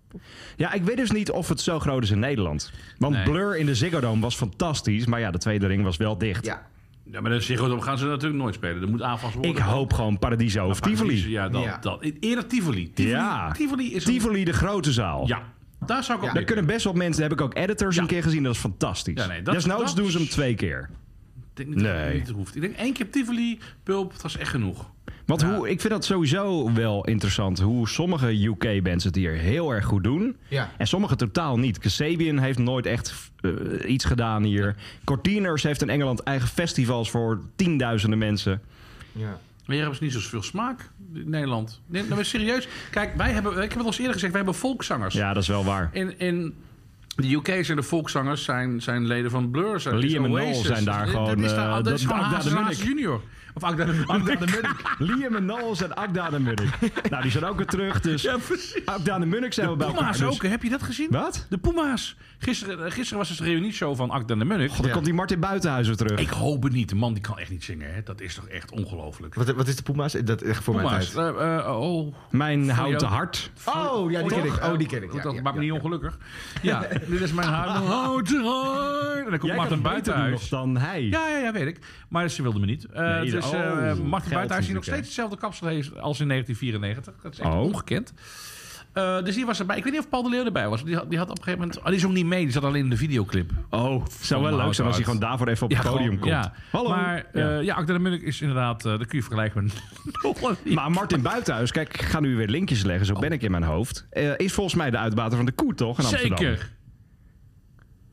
D: Ja, ik weet dus niet of het zo groot is in Nederland. Want
C: Nee.
D: Blur in de Ziggo Dome was fantastisch, maar ja, de tweede ring was wel dicht.
E: Ja,
C: ja maar de Ziggo Dome gaan ze natuurlijk nooit spelen. Er moet aanvast worden.
D: Ik hoop gewoon Paradiso of Tivoli.
C: Ja, dat,
E: Ja.
C: dat. Eerder Tivoli. Tivoli,
D: Ja.
C: Tivoli is een-
D: Tivoli, de grote zaal.
C: Ja, daar zou ik ook
D: Daar
C: mee
D: kunnen best wel mensen, daar heb ik ook editors
C: Ja.
D: een keer gezien, dat is fantastisch.
C: Ja, nee, dat-
D: Desnoods
C: dat-
D: doen ze hem twee keer.
C: Ik denk niet dat
D: Nee.
C: het niet hoeft. Ik denk één keer Tivoli, Pulp, dat is echt genoeg.
D: Want hoe, ik vind dat sowieso wel interessant, hoe sommige UK-bands het hier heel erg goed doen.
E: Ja.
D: En sommige totaal niet. Kasabian heeft nooit echt eh, iets gedaan hier. Cortiners heeft in Engeland eigen festivals voor tienduizenden mensen.
E: ja.
C: Maar hier hebben ze niet zoveel smaak in Nederland. Nee, nou, maar serieus. Kijk, wij hebben, ik heb het al eens eerder gezegd, wij hebben volkszangers.
D: Ja, dat is wel waar.
C: In, in de UK zijn de volkszangers zijn, zijn leden van Blur. Zijn,
D: Liam
C: is
D: en
C: Oasis.
D: Noel zijn daar
C: Dat-
D: gewoon,
C: Dat is, daar,
D: eh,
C: dat
D: dat-
C: is gewoon
D: Agda de
C: Haas en Haas
D: Munnik.
C: junior. Of Agda de Munnik.
D: Liam en Knowles en Akda de Munnik. Nou, die zijn ook weer terug, dus
C: Ja, precies.
D: Akda de Munnik zijn we bij elkaar.
C: Puma's
D: dus-
C: ook, hè? heb je dat gezien?
D: Wat?
C: De Puma's. Gisteren, eh, gisteren was het een reunieshow van Agda de Munnik.
D: God, dan komt die Martin Buitenhuizen terug.
C: Ik hoop het niet. De man die kan echt niet zingen. Hè? Dat is toch echt ongelooflijk.
E: Wat, wat is de Puma's? Dat is echt voor mijn
C: Puma's.
E: tijd.
C: eh, eh, oh,
D: Mijn
C: jou.
D: houten hart.
E: Oh, ja, die ken ik.
C: Toch?
E: Oh, die ken ik.
C: Goed,
E: Ja,
C: dat
E: ja,
C: maakt me
E: ja.
C: niet ongelukkig. Ja, dit is mijn huis. Oh, te raar. En dan komt
D: Jij kan
C: Martin
D: het beter doen nog
C: Buitenhuis.
D: dan hij.
C: Ja, ja, ja, weet ik. Maar ze wilde me niet. Eh
D: Nee,
C: dus
D: oh,
C: eh,
D: geld
C: Martin Buitenhuis die nog
D: natuurlijk, hè.
C: steeds hetzelfde kapsel heeft als in 1994. Dat is echt
D: Oh.
C: ongekend. Eh, dus die was erbij. Ik weet niet of Paul de Leeuw erbij was. Die had, die had op een gegeven moment... Oh, die zong niet mee. Die zat alleen in de videoclip.
D: Oh, zou wel
C: mijn
D: leuk zijn als
C: houten
D: hij gewoon daarvoor even op het podium
C: gewoon,
D: komt.
C: Ja.
D: Hallo.
C: Maar
D: Ja.
C: eh ja, Akda de Munnik is inderdaad... eh dat kun je vergelijken met... Nolan.
D: Maar Martin Buitenhuis, kijk, ik ga nu weer linkjes leggen,
C: Oh.
D: zo ben ik in mijn hoofd. Eh, is volgens mij de uitbater van de koe, toch? In Amsterdam?
C: Zeker.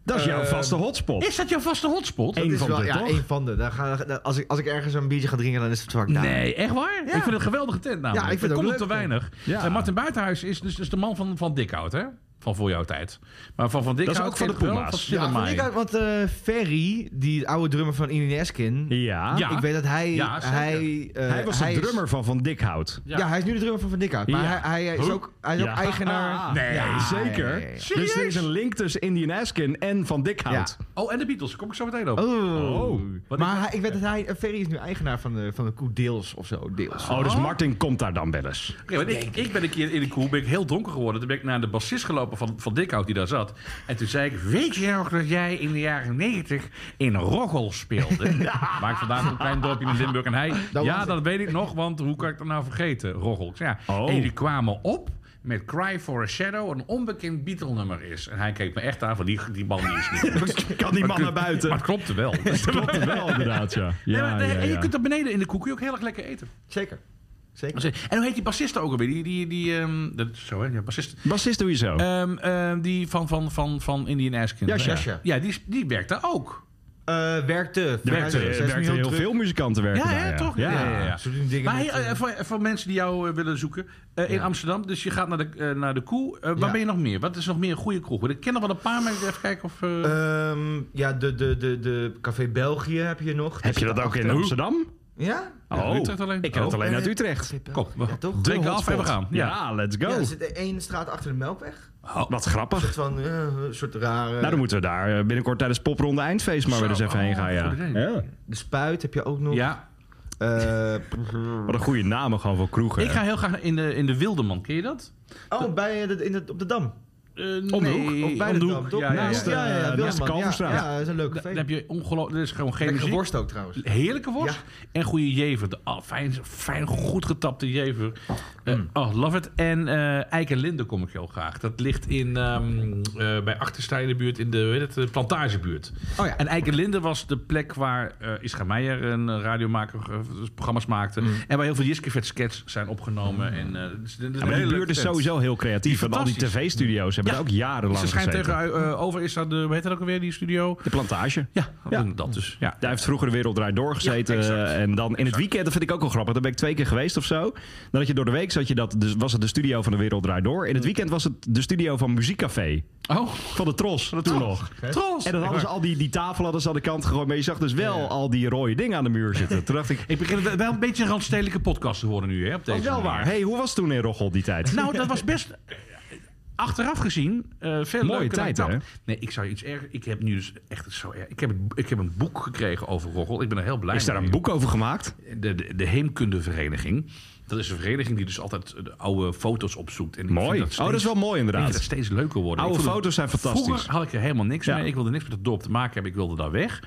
D: Dat is jouw
E: Eh,
D: vaste hotspot.
C: Is dat jouw vaste hotspot?
D: Eén
E: Dat is
D: van
E: wel,
D: de,
E: ja,
D: toch?
E: één van de. Daar ga, daar- als, ik, als ik ergens een biertje ga drinken, dan is het vaak daar.
C: Nee, echt waar? Ik vind het een geweldige tent namelijk.
E: Ja, ik vind
C: er
E: het
C: komt
E: ook
C: te
E: leuk,
C: weinig.
D: Ja.
C: En Martin Buitenhuis is dus, dus de man van, van Dikhout, hè? Van voor jouw tijd. Maar van Van Dikhout...
D: ook van
C: ken
D: de
C: ik wel,
D: Puma's.
C: Van
E: Ja,
C: Siddermaai.
E: vond ik ook, want eh, Ferry, die oude drummer van Indian Eskin.
D: Ja.
C: Ja.
E: Ik weet dat hij...
C: Ja, zeker.
E: hij, eh,
D: Hij was de
E: is-
D: drummer van Van Dikhout.
E: ja. hij is nu de drummer van Van Dikhout. Maar
D: Ja.
E: hij, hij is
D: Huh?
E: ook, hij is
D: Ja.
E: ook eigenaar...
D: Ah, Nee,
E: Ja,
D: zeker.
E: ja, ja, ja.
D: Dus er is een link tussen Indian Askin en Van Dikhout.
C: Oh, en de Beatles. Daar kom ik zo meteen op.
E: Oh.
C: Wat
E: Maar
C: ik-
E: hij, ik weet dat hij... eh, Ferry is nu eigenaar van de, van de koe Deels of zo. Deels.
D: Oh, dus Martin komt daar dan wel eens.
C: Oké, want ik, ik ben een keer in de koel, ben ik heel donker geworden. Toen ben ik naar de bassist gelopen van, van Dikhout die daar zat. En toen zei ik, weet je nog dat jij in de jaren negentig in Roggel speelde? Waar ik vandaan kom, een klein dorpje in Limburg. En hij,
E: was
C: ja,
E: het.
C: dat weet ik nog, want hoe kan ik dat nou vergeten, Roggel? Ik zei, ja,
D: Oh.
C: en die kwamen op met Cry for a Shadow, een onbekend Beatle-nummer is. En hij keek me echt aan van, die, die man die is niet...
D: Kan die man naar
C: Maar
D: buiten?
C: het klopte wel.
D: Klopt wel, inderdaad, ja.
C: Nee,
D: ja,
C: maar-
D: ja,
C: en je
D: ja.
C: kunt daar beneden in de koek ook heel erg lekker eten.
E: Zeker. Zeker.
C: En hoe heet die bassist ook alweer? Die, die, die, ehm, dat is zo hè, ja, bassist.
D: Bassist doe je zo.
C: Ehm, ehm, die van, van, van, van Indian Askin.
D: Ja, Jascha.
E: Jascha.
C: Ja, die, is- die werkt daar ook.
E: Eh, werkte.
D: Werkte,
E: Ze is nu
D: werkte heel,
E: druk.
D: veel muzikanten werken
C: Ja,
D: daar,
C: hè, toch?
D: Ja.
C: ja, ja.
E: Ze doen dingen
C: Maar
E: met,
C: hey, eh,
E: eh,
C: voor, voor mensen die jou eh, willen zoeken eh, in Amsterdam. Dus je gaat naar de, eh, naar de koe. Eh, waar
E: Ja.
C: ben je nog meer? Wat is nog meer een goede kroeg? Want Ik ken er wel een paar, maar ik even kijken of... eh,
E: Ehm, ja, de, de, de, de Café België heb je nog.
D: Heb je dat ook in Amsterdam?
E: Ja?
C: Ja, Utrecht alleen.
D: Ik ken het
C: Oh.
D: Eh, alleen uit Utrecht.
C: Kom, we-
E: Ja, toch?
C: drink
D: De
C: af en we
D: hotspot.
C: gaan.
D: Ja,
C: Ja.
D: let's
E: Ja,
D: go. Oh.
E: er zit één straat achter de Melkweg.
D: Wat
E: Een
D: grappig.
E: soort van eh, een soort rare...
D: Nou, dan moeten we daar eh, binnenkort tijdens popronde eindfeest maar weer eens
C: Zo,
D: even heen
C: oh,
D: gaan. Ja.
C: goed idee.
D: Ja.
E: De spuit heb je ook nog.
C: Ja.
E: Eh,
D: Wat een goede namen gewoon voor kroegen.
C: Ik ga heel graag in de, in de Wildeman. Ken je dat?
E: oh, bij, eh, de- in het- op de Dam.
C: Eh, eh,
D: Om de
C: nee,
D: hoek, of bij
C: om
E: de
C: de
E: dam,
C: hoek.
E: toch?
C: Ja, ja,
D: Naast,
C: ja.
D: eh, naast de
E: ja,
D: Kalverstraat.
E: ja, dat is een leuk
C: Dan
E: café.
C: heb je ongelooflijk, er is gewoon geen
E: Lekker
C: muziek.
E: worst ook trouwens.
C: Heerlijke worst. En goede jever. De, ah, fijn, fijn, goed getapte jever. Eh,
D: Mm.
C: Oh, love it. En eh Eik en Linde kom ik heel graag. Dat ligt in, ehm, eh, bij Achterstein in de buurt, in de, weet het, de plantagebuurt.
E: Oh ja.
C: En Eik en Linde was de plek waar eh Ischa Meijer, een eh, radiomaker, eh, dus programma's
D: Mm.
C: maakte. En waar heel veel Jiskevet sketches zijn opgenomen. En, eh, dus, dat is een
D: maar
C: hele
D: die
C: leuke
D: buurt is
C: tent.
D: sowieso heel creatief. Want al die
C: Fantastisch.
D: tv-studio's hebben
C: Ja.
D: er ook jarenlang
C: Ze schijnt
D: gezeten.
C: tegen eh, over is dat de, hoe heet dat ook alweer, die studio?
D: De plantage.
C: Ja,
D: Ja.
C: dat dus. Ja.
D: Daar heeft vroeger de wereld draait door gezeten.
C: Ja, exact.
D: eh, en dan in het weekend, dat vind ik ook wel grappig. Daar ben ik twee keer geweest of zo. Dan had je door de week, zat je dat, dus was het de studio van de wereld draait door. In het weekend was het de studio van Muziekcafé.
C: Oh,
D: Van de Tros, toen nog.
C: trots.
D: En dan hadden ze al die, die tafel hadden ze aan de kant gegooid. Maar je zag dus wel al die rode dingen aan de muur zitten. Toen dacht ik,
C: Ik begin het wel een beetje een randstedelijke podcast te worden nu, hè? Op
D: dat
C: deze
D: is Oh, wel
C: manier.
D: waar. hey, hoe was het toen in Rochel die tijd?
C: Nou, dat was best. Achteraf gezien, eh, veel leuker
D: Mooie
C: dan ik
D: tijd,
C: dacht.
D: hè?
C: Nee, ik zou iets erger. Ik heb nu dus echt het zo erg. Ik heb, ik heb een boek gekregen over Roggel. Ik ben er heel blij
D: Is daar
C: mee.
D: een boek over gemaakt?
C: De, de, de Heemkundevereniging. Dat is een vereniging die dus altijd de oude foto's opzoekt. En ik vind
D: Mooi.
C: dat
D: oh,
C: steeds-
D: dat is wel mooi
C: Ik vind dat
D: inderdaad.
C: steeds leuker worden.
D: Oude
C: Ik vond
D: foto's zijn fantastisch.
C: Vroeger had ik er helemaal niks
D: Ja.
C: mee. Ik wilde niks met het dorp te maken hebben. Ik wilde daar weg.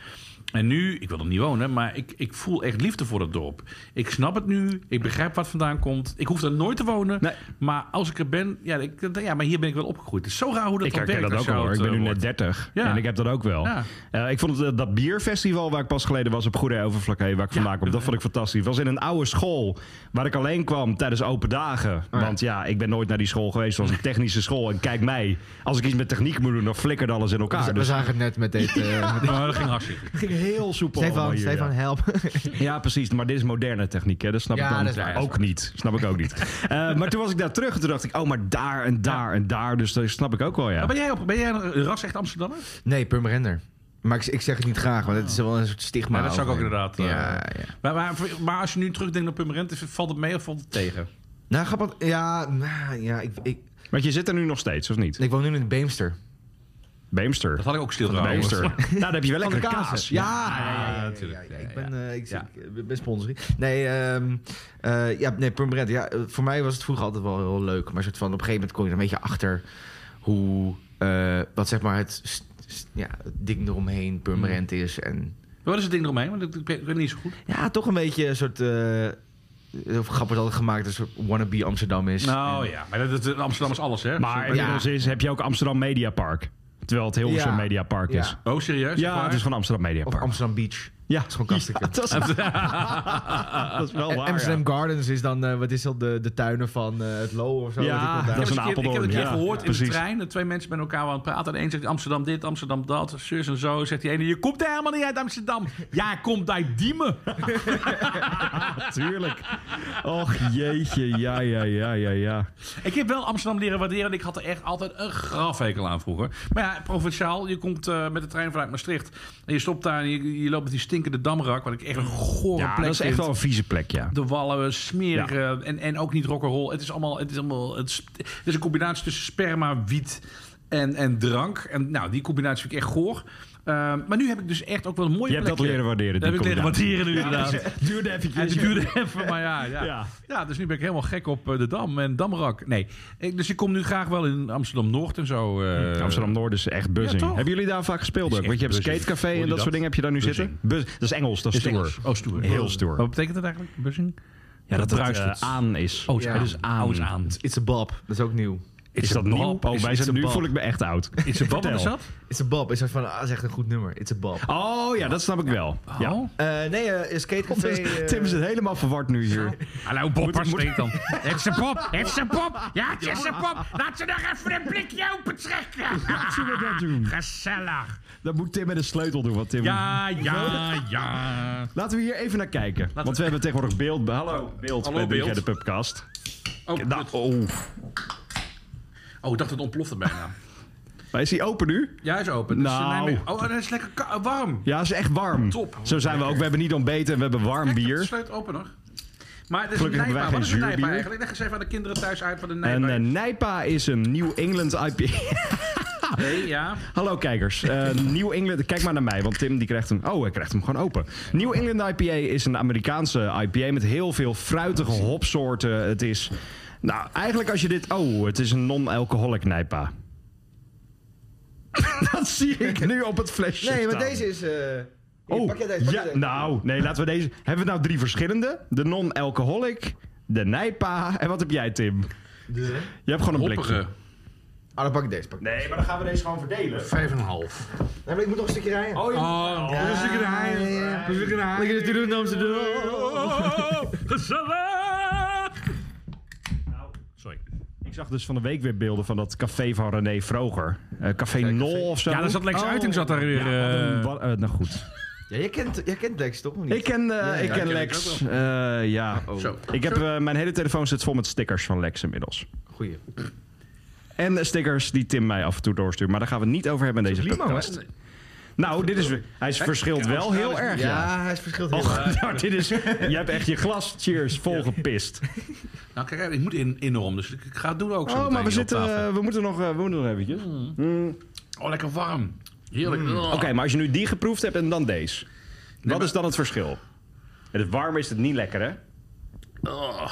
C: En nu, ik wil er niet wonen, maar ik, ik voel echt liefde voor het dorp. Ik snap het nu. Ik begrijp wat vandaan komt. Ik hoef daar nooit te wonen.
D: Nee.
C: Maar als ik er ben, ja, ik, ja, maar hier ben ik wel opgegroeid. Het is zo raar hoe dat
D: Ik
C: dan
D: herken
C: werkt.
D: dat ook
C: als
D: wel
C: je
D: hoor. Ik
C: oud,
D: ben
C: eh,
D: nu net
C: wordt.
D: 30
C: Ja.
D: en ik heb dat ook wel.
C: Ja.
D: Eh, ik vond het, eh, dat bierfestival waar ik pas geleden was op Goede Overvlakke, waar ik vandaan kom, dat vond ik fantastisch. Het was in een oude school waar ik alleen kwam tijdens open dagen. Want ja, ik ben nooit naar die school geweest. Het was een technische school en kijk mij, als ik iets met techniek moet doen, dan flikkert alles in
C: Ah,
E: We,
D: elkaar.
E: we
D: Dus
E: zagen het net met dit. eh,
C: Maar Nou, dat ging hartstikke.
D: het ging heel soepel. allemaal
E: Stefan,
D: hier, ja.
E: Stefan, help.
D: Ja, precies. Maar dit is moderne techniek, hè? Dat snap
E: Ja,
D: ik dan
E: dat is waar, dat is
D: ook niet. Snap ik ook niet. Eh, maar toen was ik daar terug en toen dacht ik, oh, maar daar en daar en daar. Dus dat snap ik ook wel, ja.
C: Maar ben jij, op, ben jij een ras echt Amsterdammer?
E: Nee, Purmerender. Maar ik, ik zeg het niet graag, want het is wel een soort stigma.
C: Ja, dat zou ik ook
E: over-
C: inderdaad, eh,
E: Ja, ja.
C: Maar, maar, maar als je nu terugdenkt op Pummerend, valt het mee of valt het tegen?
E: Nou, grappig. Ja, nou, ja ik, ik,
D: Want je zit er nu nog steeds, of niet?
E: ik woon nu in Beemster.
D: Beemster.
C: Dat had ik ook stil trouwens.
D: Beemster. nou, daar heb je wel lekker
E: Van de kaas.
D: kaas.
E: Ja, ja,
C: ja,
E: ja,
C: ja,
E: ja,
C: natuurlijk.
E: ja,
C: Ja,
E: Ik
C: ja,
E: ben, eh, ik,
C: Ja.
E: ik ben sponsoring. Nee, ehm eh ja, nee, Purmerend. Ja, eh, voor mij was het vroeger altijd wel heel leuk. Maar soort van, op een gegeven moment kom je er een beetje achter hoe, eh, wat zeg maar het, st- st- ja, het ding eromheen Purmerend
C: Mm.
E: is. En
C: Wat is het ding eromheen? Want ik, ik weet ik weet niet zo goed.
E: ja, toch een beetje een soort, eh heel grappig altijd gemaakt, een soort wannabe Amsterdam is.
C: Nou ja, maar dat, dat- Amsterdam is alles, hè?
D: Maar
E: Ja.
D: inmiddels is, heb je ook Amsterdam Media Park. Terwijl het Hilversum
E: Ja.
D: Media Park
E: Ja.
D: is.
C: Oh, serieus? Echt
D: Ja,
C: waar?
D: het is van Amsterdam Media
E: Of
D: Park.
E: Amsterdam Beach.
D: ja,
E: is gewoon kastikken.
D: Ja, dat, is, dat is wel
E: En
D: waar.
E: Amsterdam
D: ja.
E: Gardens is dan, eh, wat is dat, de, de tuinen van eh, het Loo of zo?
D: Ja,
E: weet ik wat daar.
D: dat is
C: Ik
D: een
C: heb eens keer- Ik heb
D: Apeldoorn,
C: een keer
D: ja.
C: gehoord in de
D: Precies.
C: trein dat twee mensen met elkaar aan het praten. En de een zegt Amsterdam dit, Amsterdam dat, zus en zo. Zegt die ene, je komt helemaal niet uit Amsterdam. Ja, komt uit Diemen.
D: Tuurlijk. Och, jeetje. Ja, ja, ja, ja, ja.
C: Ik heb wel Amsterdam leren waarderen. en Ik had er echt altijd een grafhekel aan vroeger. Maar ja, provinciaal. Je komt eh, met de trein vanuit Maastricht. En je stopt daar en je, je loopt met die stinkende damrak. Wat ik echt een gore
D: Ja,
C: plek
D: dat is echt
C: vind.
D: wel een vieze plek, ja.
C: De wallen, smerig en, en ook niet rock'n'roll. Het is allemaal, het is allemaal, het is, het is een combinatie tussen sperma, wiet en, en drank. En nou, die combinatie vind ik echt goor. Eh, maar nu heb ik dus echt ook wel een mooie
D: Je hebt dat
C: plekje.
D: leren waarderen,
C: Dat
D: die
C: heb ik leren
D: combinatie.
C: waarderen nu inderdaad.
D: Duurde eventjes.
C: Het duurde even, maar ja, ja. ja.
D: Ja.
C: dus nu ben ik helemaal gek op eh, de Dam en Damrak. Nee, ik, dus ik kom nu graag wel in Amsterdam-Noord en zo. eh,
D: Hm, Amsterdam Noord is echt buzzing.
C: Ja, toch?
D: Hebben jullie daar vaak gespeeld
C: Is
D: ook? Want je hebt
C: echt buzzing.
D: skatecafé
C: Hoor
D: en
C: je
D: dat,
C: dat?
D: soort dingen heb je daar nu
C: Buzzing.
D: zitten. Buzz, dat is Engels, dat is
C: is
D: stoer.
C: Engels. Oh, stoer.
D: Heel stoer.
C: Wat betekent dat eigenlijk, buzzing?
D: Ja, dat het
C: bruist
D: eh,
C: het.
D: aan is.
C: Oh, het is
E: Ja.
C: aan.
D: Het is aan.
C: Oh, het is aan.
E: It's a bob. Dat is ook nieuw.
D: Is
C: It's
D: dat
C: a
D: nieuw?
C: bob.
D: Oh,
C: Is-
D: wij
C: it's
D: zijn,
E: a
D: nu
E: bob.
D: voel ik me echt oud.
C: Is het wat
D: Vertel.
C: is dat?
E: It's a bob. Is dat van, ah, dat is echt een goed nummer. It's a bob.
D: Oh ja, dat snap ik wel. Ja.
C: Oh.
E: Eh, nee, eh, skatecafé... eh,
D: Tim is het helemaal verward nu hier.
C: Hallo, Bob, waar spreekt dan? Het is een pop, het is een pop. Ja, het is een pop. Laat ze nog even een blikje open trekken.
D: Zullen we dat doen?
C: Gezellig.
D: Dat moet Tim met een sleutel doen. Wat Tim...
C: Ja, ja, ja.
D: Laten we hier even naar kijken. Want we hebben tegenwoordig beeld. bij- Hallo, beeld.
C: Hallo,
D: bij
C: beeld.
D: 3G de Pubcast.
C: Oh,
D: Nou,
C: kut.
D: oh.
C: oh, ik dacht het ontplofte bijna.
D: Maar is die open nu?
C: Ja, hij is open. Dus, eh,
D: Nou.
C: nee, maar- oh, hij is lekker ka- warm.
D: Ja, is echt warm.
C: Top.
D: Zo zijn we ook. We hebben niet ontbeten en we hebben warm
C: Het
D: bier.
C: sluit open nog. Maar het is
D: Gelukkig
C: een
D: hebben
C: nijpa.
D: wij
C: Wat is
D: geen
C: een nijpa
D: zuurbier.
C: eigenlijk? Leg eens even aan de kinderen thuis uit wat een
D: En
C: nijpa
D: eh,
C: is.
D: Nijpa is een New England IPA.
C: Nee, ja.
D: Hallo kijkers. Eh, New England, kijk maar naar mij, want Tim die krijgt hem. Oh, hij krijgt hem gewoon open. New England IPA is een Amerikaanse IPA met heel veel fruitige hopsoorten. Het is. Nou, eigenlijk als je dit. Oh, het is een non-alcoholic Nijpa. dat zie ik nu op het flesje
E: Nee, maar
D: staan.
E: deze is... eh, hier,
D: Oh,
E: pak jij deze, pak jij
D: ja,
E: deze.
D: nou, nee, laten we deze... Hebben we nou drie verschillende? De non-alcoholic, de Nijpa en wat heb jij, Tim? Je hebt gewoon een blikje.
C: Hoppige.
E: Ah, dan pak ik deze. Pak ik
D: Nee, maar dan gaan we deze gewoon verdelen.
C: 5,5.
E: deze. Nee, maar ik moet nog een stukje rijden. Eh,
D: Oh, ja.
C: Oh, dat is ik een haai. Dat is ik een haai.
E: Lekker natuurlijk in Amsterdam.
C: Oh. Gezellig. Sorry.
D: Ik zag dus van de week weer beelden van dat café van René Vroger. Eh, café
E: Café-
D: Nol of zo.
C: Ja, daar zat Lex Uiting zat daar weer.
D: Ja, wat een-
C: eh,
D: wat- eh, nou goed.
E: Ja, jij kent, jij kent Lex toch? of niet?
D: Ik ken, eh, ik
E: ja,
D: ken
C: ken
D: Lex.
C: ik
D: Eh, ja.
E: Oh,
C: Zo.
D: Ik heb, eh, mijn hele telefoon zit vol met stickers van Lex inmiddels.
E: goeie.
D: En eh, stickers die Tim mij af en toe doorstuurt. Maar daar gaan we het niet over hebben in deze
E: sublimo,
D: podcast. Nou, dit is, weer- hij is verschilt wel heel erg.
E: Ja,
D: Ja.
E: hij is verschilt heel erg.
D: Och, nou, dit is, je hebt echt je glas, cheers, volgepist.
C: Nou, kijk, ik moet in, in de rom, dus ik ik ga het doen ook zo.
D: Oh,
C: meteen
D: maar we,
C: hier op
D: zitten,
C: tafel.
D: eh, we, moeten nog, eh, we moeten nog eventjes.
C: Oh, lekker warm. Heerlijk.
D: Mm.
C: Oh.
D: Oké, maar als je nu die geproefd hebt en dan deze. wat
C: maar-
D: is dan het verschil? Het warme is het niet lekker, hè?
C: Oh.